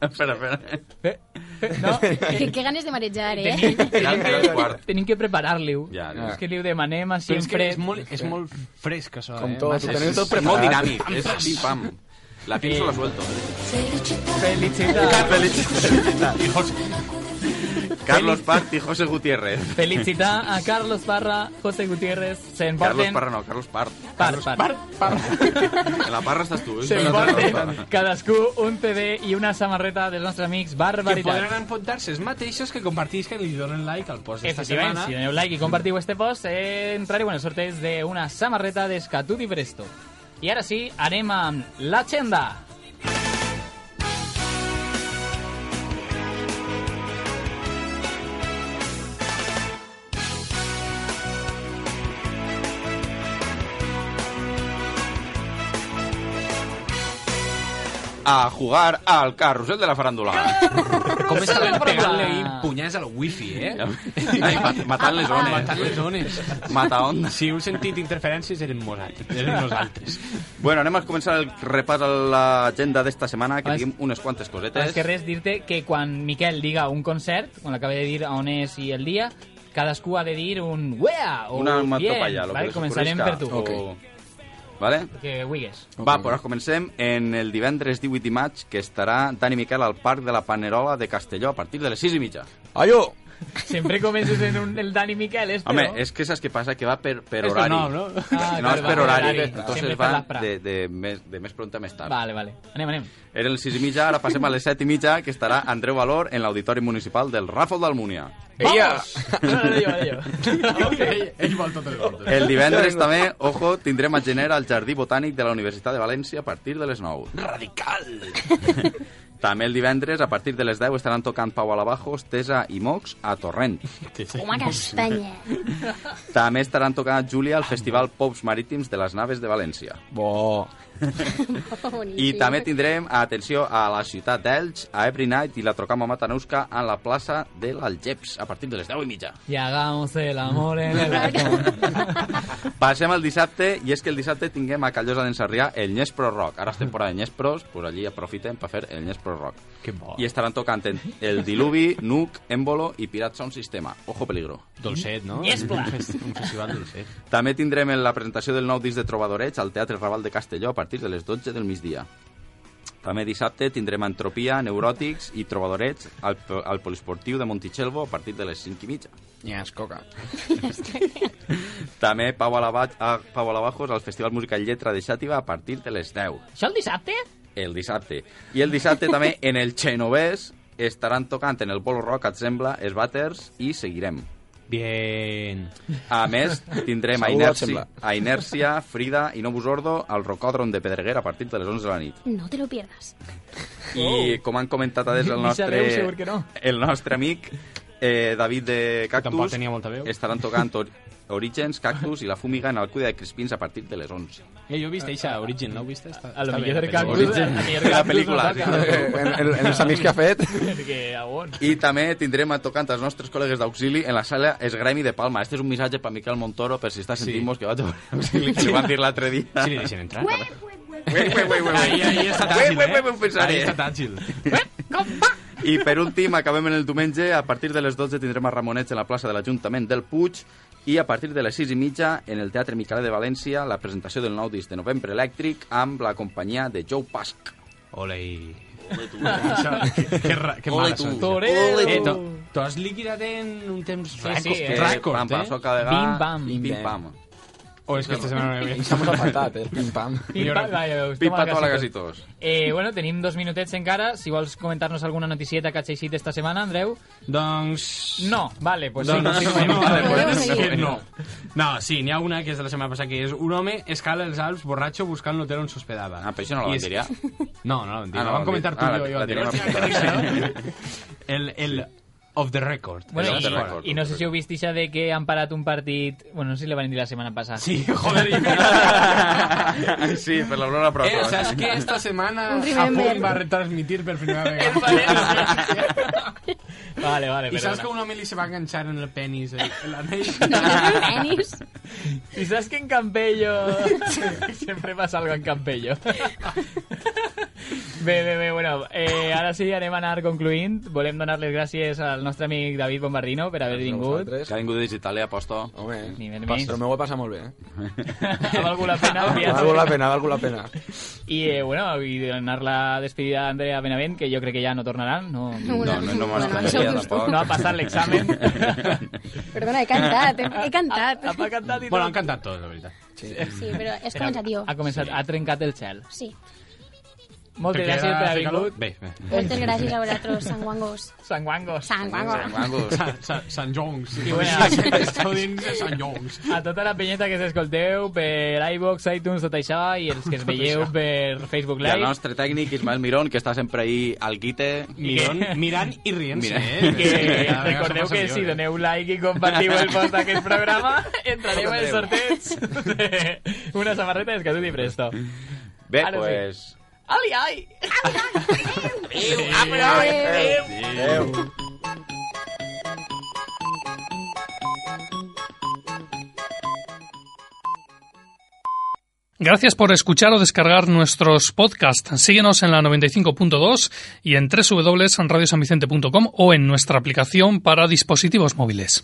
Espera, espera. <laughs> Que, que ganes de marejar, ¿eh? <laughs> Tenim que, tenim que preparar-li-ho. Ja, ja. És que li ho demanem a Però és que sempre. és molt, és molt fresc, això, Com eh? tot, Massa- ho tenim tot és preparat. molt Dinami, es pim pam. La pinzo la suelto. Felicitats. Felicitas. Hijos. Carlos Paz y José Gutiérrez. Felicitar a Carlos Parra, José Gutiérrez, Carlos se emporten... Parra no, Carlos Part. Par, par. En la parra estàs tu. eh? Se emporten cadascú un CD i una samarreta dels nostres amics que podran Barbaritat. emportar-se els mateixos que compartís que li donen like al post d'esta Efectivament, setmana. si doneu like i compartiu este post, eh, entrareu en el sorteig d'una samarreta d'Escatut i Presto. I ara sí, anem amb l'agenda. A jugar al carrusel de la farándula. Com és talent pegant-li punyals al wifi, eh? Ai, mat- matant les ones. Matant les ones. Mata onda. Si heu sentit interferències, eren nosaltres. Eren nosaltres. Bueno, anem a començar el repàs a l'agenda d'esta setmana, que Abans- diguem unes quantes Més cosetes. que res, dir-te que quan Miquel diga un concert, quan acaba de dir on és i el dia, cadascú ha de dir un wea o Una un bien, onomatopeia, lo que vale? les Començarem per ocorrisca, tu. o- Vale? Que huigues. Va, però pues comencem en el divendres 18 de maig, que estarà Dani Miquel al Parc de la Panerola de Castelló a partir de les 6 i mitja. Allò! Sempre comences en un, el Dani Miquel, este, Home, no? és que saps què passa? Que va per, per Esto horari. <laughs> no, no? no Ah, clar, és va per per horari. horari. Sempre Entonces per va l'aprà. de, de, més, de més pronta a més tard. Vale, vale. Anem, anem. Eren les 6 i mitja, ara passem a les 7 i mitja, que estarà Andreu Valor en l'Auditori Municipal del Ràfol d'Almúnia. Vamos! No, no, jo, jo. <laughs> Ell, ell vol totes les voltes. El divendres també, ojo, tindrem a Genera al Jardí Botànic de la Universitat de València a partir de les 9. Radical! <laughs> També el divendres, a partir de les 10, estaran tocant Pau Alabajos, Tesa i Mox a Torrent. Uma castanha. També estaran tocant a Júlia al Festival Pops Marítims de les Naves de València. Bo! I també tindrem, atenció, a la ciutat d'Elx, a Every Night i la Trocama Matanusca a la plaça de l'Algeps, a partir de les 10 i mitja. Y hagamos el amor en <laughs> el balcón. Passem al dissabte, i és que el dissabte tinguem a Callosa d'en Sarrià el Nespro Rock. Ara és temporada de Nespros, doncs allí aprofiten per fer el Nespro Rock. Que Oh. bo. I estaran tocant en- el Diluvi, Nuc, Embolo i Pirats Sound Sistema. Ojo peligro. Dolcet, no? Nespla. Un fes- Un festival dolcet. També tindrem la presentació del nou disc de Trobadorets al Teatre Raval de Castelló a partir de les 12 del migdia. També dissabte tindrem Entropia, Neuròtics i Trobadorets al, al Polisportiu de Montichelvo a partir de les 5 i mitja. Ni es coca. També Pau, Alabat, a, Pau Alabajos al Festival Música i Lletra de Xàtiva a partir de les 10. Això el dissabte? El dissabte. I el dissabte <laughs> també en el Xenovès estaran tocant en el Bolo Rock, et sembla, els Batters i seguirem. Bien. A més, tindrem a Segur, et Inèrcia, sembla. a Inèrcia, Frida i Novus Ordo al Rocòdron de Pedreguer a partir de les 11 de la nit. No te lo pierdas. I com han comentat des el Ni nostre, sabeu, segur que no. el nostre amic eh, David de Tampoc Cactus, tenia molta veu. estaran tocant Or Orígens, Cactus i la Fúmiga en el Cuida de Crispins a partir de les 11. Eh, jo he vist eixa, Origin, no ho vist? Està, A lo està bé, millor la pel·lícula. Cactus- a lo millor la Cactus pel·lícula. no toca. En- en- en els amics que ha fet. Que a on. I també tindrem a tocant els nostres col·legues d'auxili en la sala Esgremi de Palma. Este és un missatge per Miquel Montoro, per si està sentint-nos, que va a auxili, que li van dir l'altre dia. Si li deixen entrar. Ué, ué, ué, ué. Ahí, ahí està tàgil, Ué, ué, ué, eh? ué, ho pensaré. Ahí està tàgil. I per últim, acabem en el diumenge. A partir de les 12 tindrem a Ramonets en la plaça de l'Ajuntament del Puig i a partir de les 6 i mitja en el Teatre Micalet de València la presentació del nou disc de Novembre Elèctric amb la companyia de Joe Pasc. Ole. Això, que, ra- que Ole mala tu. sort. Torero. Eh, to- T'ho has liquidat en un temps ràcord, sí, eh? ràcord, Pam, pam, eh? soca de gas, Bim, bam. pim, Bim, pam. O és que este esta setmana no <laughs> hi havia. Això m'ho ha faltat, el pim-pam. Pim, pa, va, ja veus, Pim, toma pa, tola, casi casi todos. Eh, bueno, tenim dos minutets encara. Si vols comentar-nos alguna noticieta que has llegit esta setmana, Andreu. Doncs... No, vale, pues sí, no, continuem. no, vale, pues, Continuem. que no. No, sí, n'hi ha una que és de la setmana passada, que és un home escala els Alps borratxo buscant l'hotel on s'hospedava. Ah, però això no la van I és- dir ja. No, no la van Ah, dir. no la la vam van comentar dir. tu Ah, la- i jo. i jo la tirem anteriorment. <laughs> El, el of the record. Bueno, El i, off the record. i no sé si heu vist això de que han parat un partit... Bueno, no sé si li van dir la setmana passada. <laughs> Sí, <laughs> joder. Sí, per l'Aurora Prado. Eh, saps que esta setmana Un remember. <laughs> Japón va a retransmitir per primera vegada. Vale, vale, I saps perdona. que un home li se va enganxar en el penis eh, l'anell? En el penis? ¿Y sabes que en Campello <laughs> siempre pasa algo en Campello? Bé, bé, bé, bueno, eh, ara sí, anem a anar concluint. Volem donar les gràcies al nostre amic David Bombardino per haver vingut. Que ha vingut des d'Itàlia, aposto. Home, Ni més ni pas, menys. però m'ho he passat molt bé. Eh? Ha valgut la pena, ha valgut la pena, ha valgut la pena. I, eh, bueno, i donar la despedida a Andrea Benavent, que jo crec que ja no tornaran. No, No, no, no m'estranya tampoc. No ha <laughs> passat l'examen. Perdona, he cantat, he, he cantat. Ha, ha cantat i Bueno, han cantat tots, la veritat. Sí, Sí, però és començatiu. Ha començat, ha trencat el cel. Sí. Moltes Perquè gràcies ara per haver té calor. vingut. Bé, bé. Moltes gràcies a vosaltres, sanguangos. Sanguangos. Sanguangos. San- San- Sant Jongs. I bueno, <laughs> Esteu dins de Sant Jongs. a tota la penyeta que s'escolteu per iVox, iTunes, tot això, i els que es veieu per Facebook I el Live. nostre tècnic, Ismael Mirón, que està sempre ahí al guite. Mirón, mirant i rient-se, eh? I que Cada vegada recordeu som que millors, si eh? doneu like i compartiu el post d'aquest programa, entrareu en el sorteig de una samarreta d'Escatut i Presto. Bé, Ara sí. pues... Ali, ai! Adéu, adéu. Adéu. Gracias por escuchar o descargar nuestros podcasts. Síguenos en la 95.2 y en www.radiosanvicente.com o en nuestra aplicación para dispositivos móviles.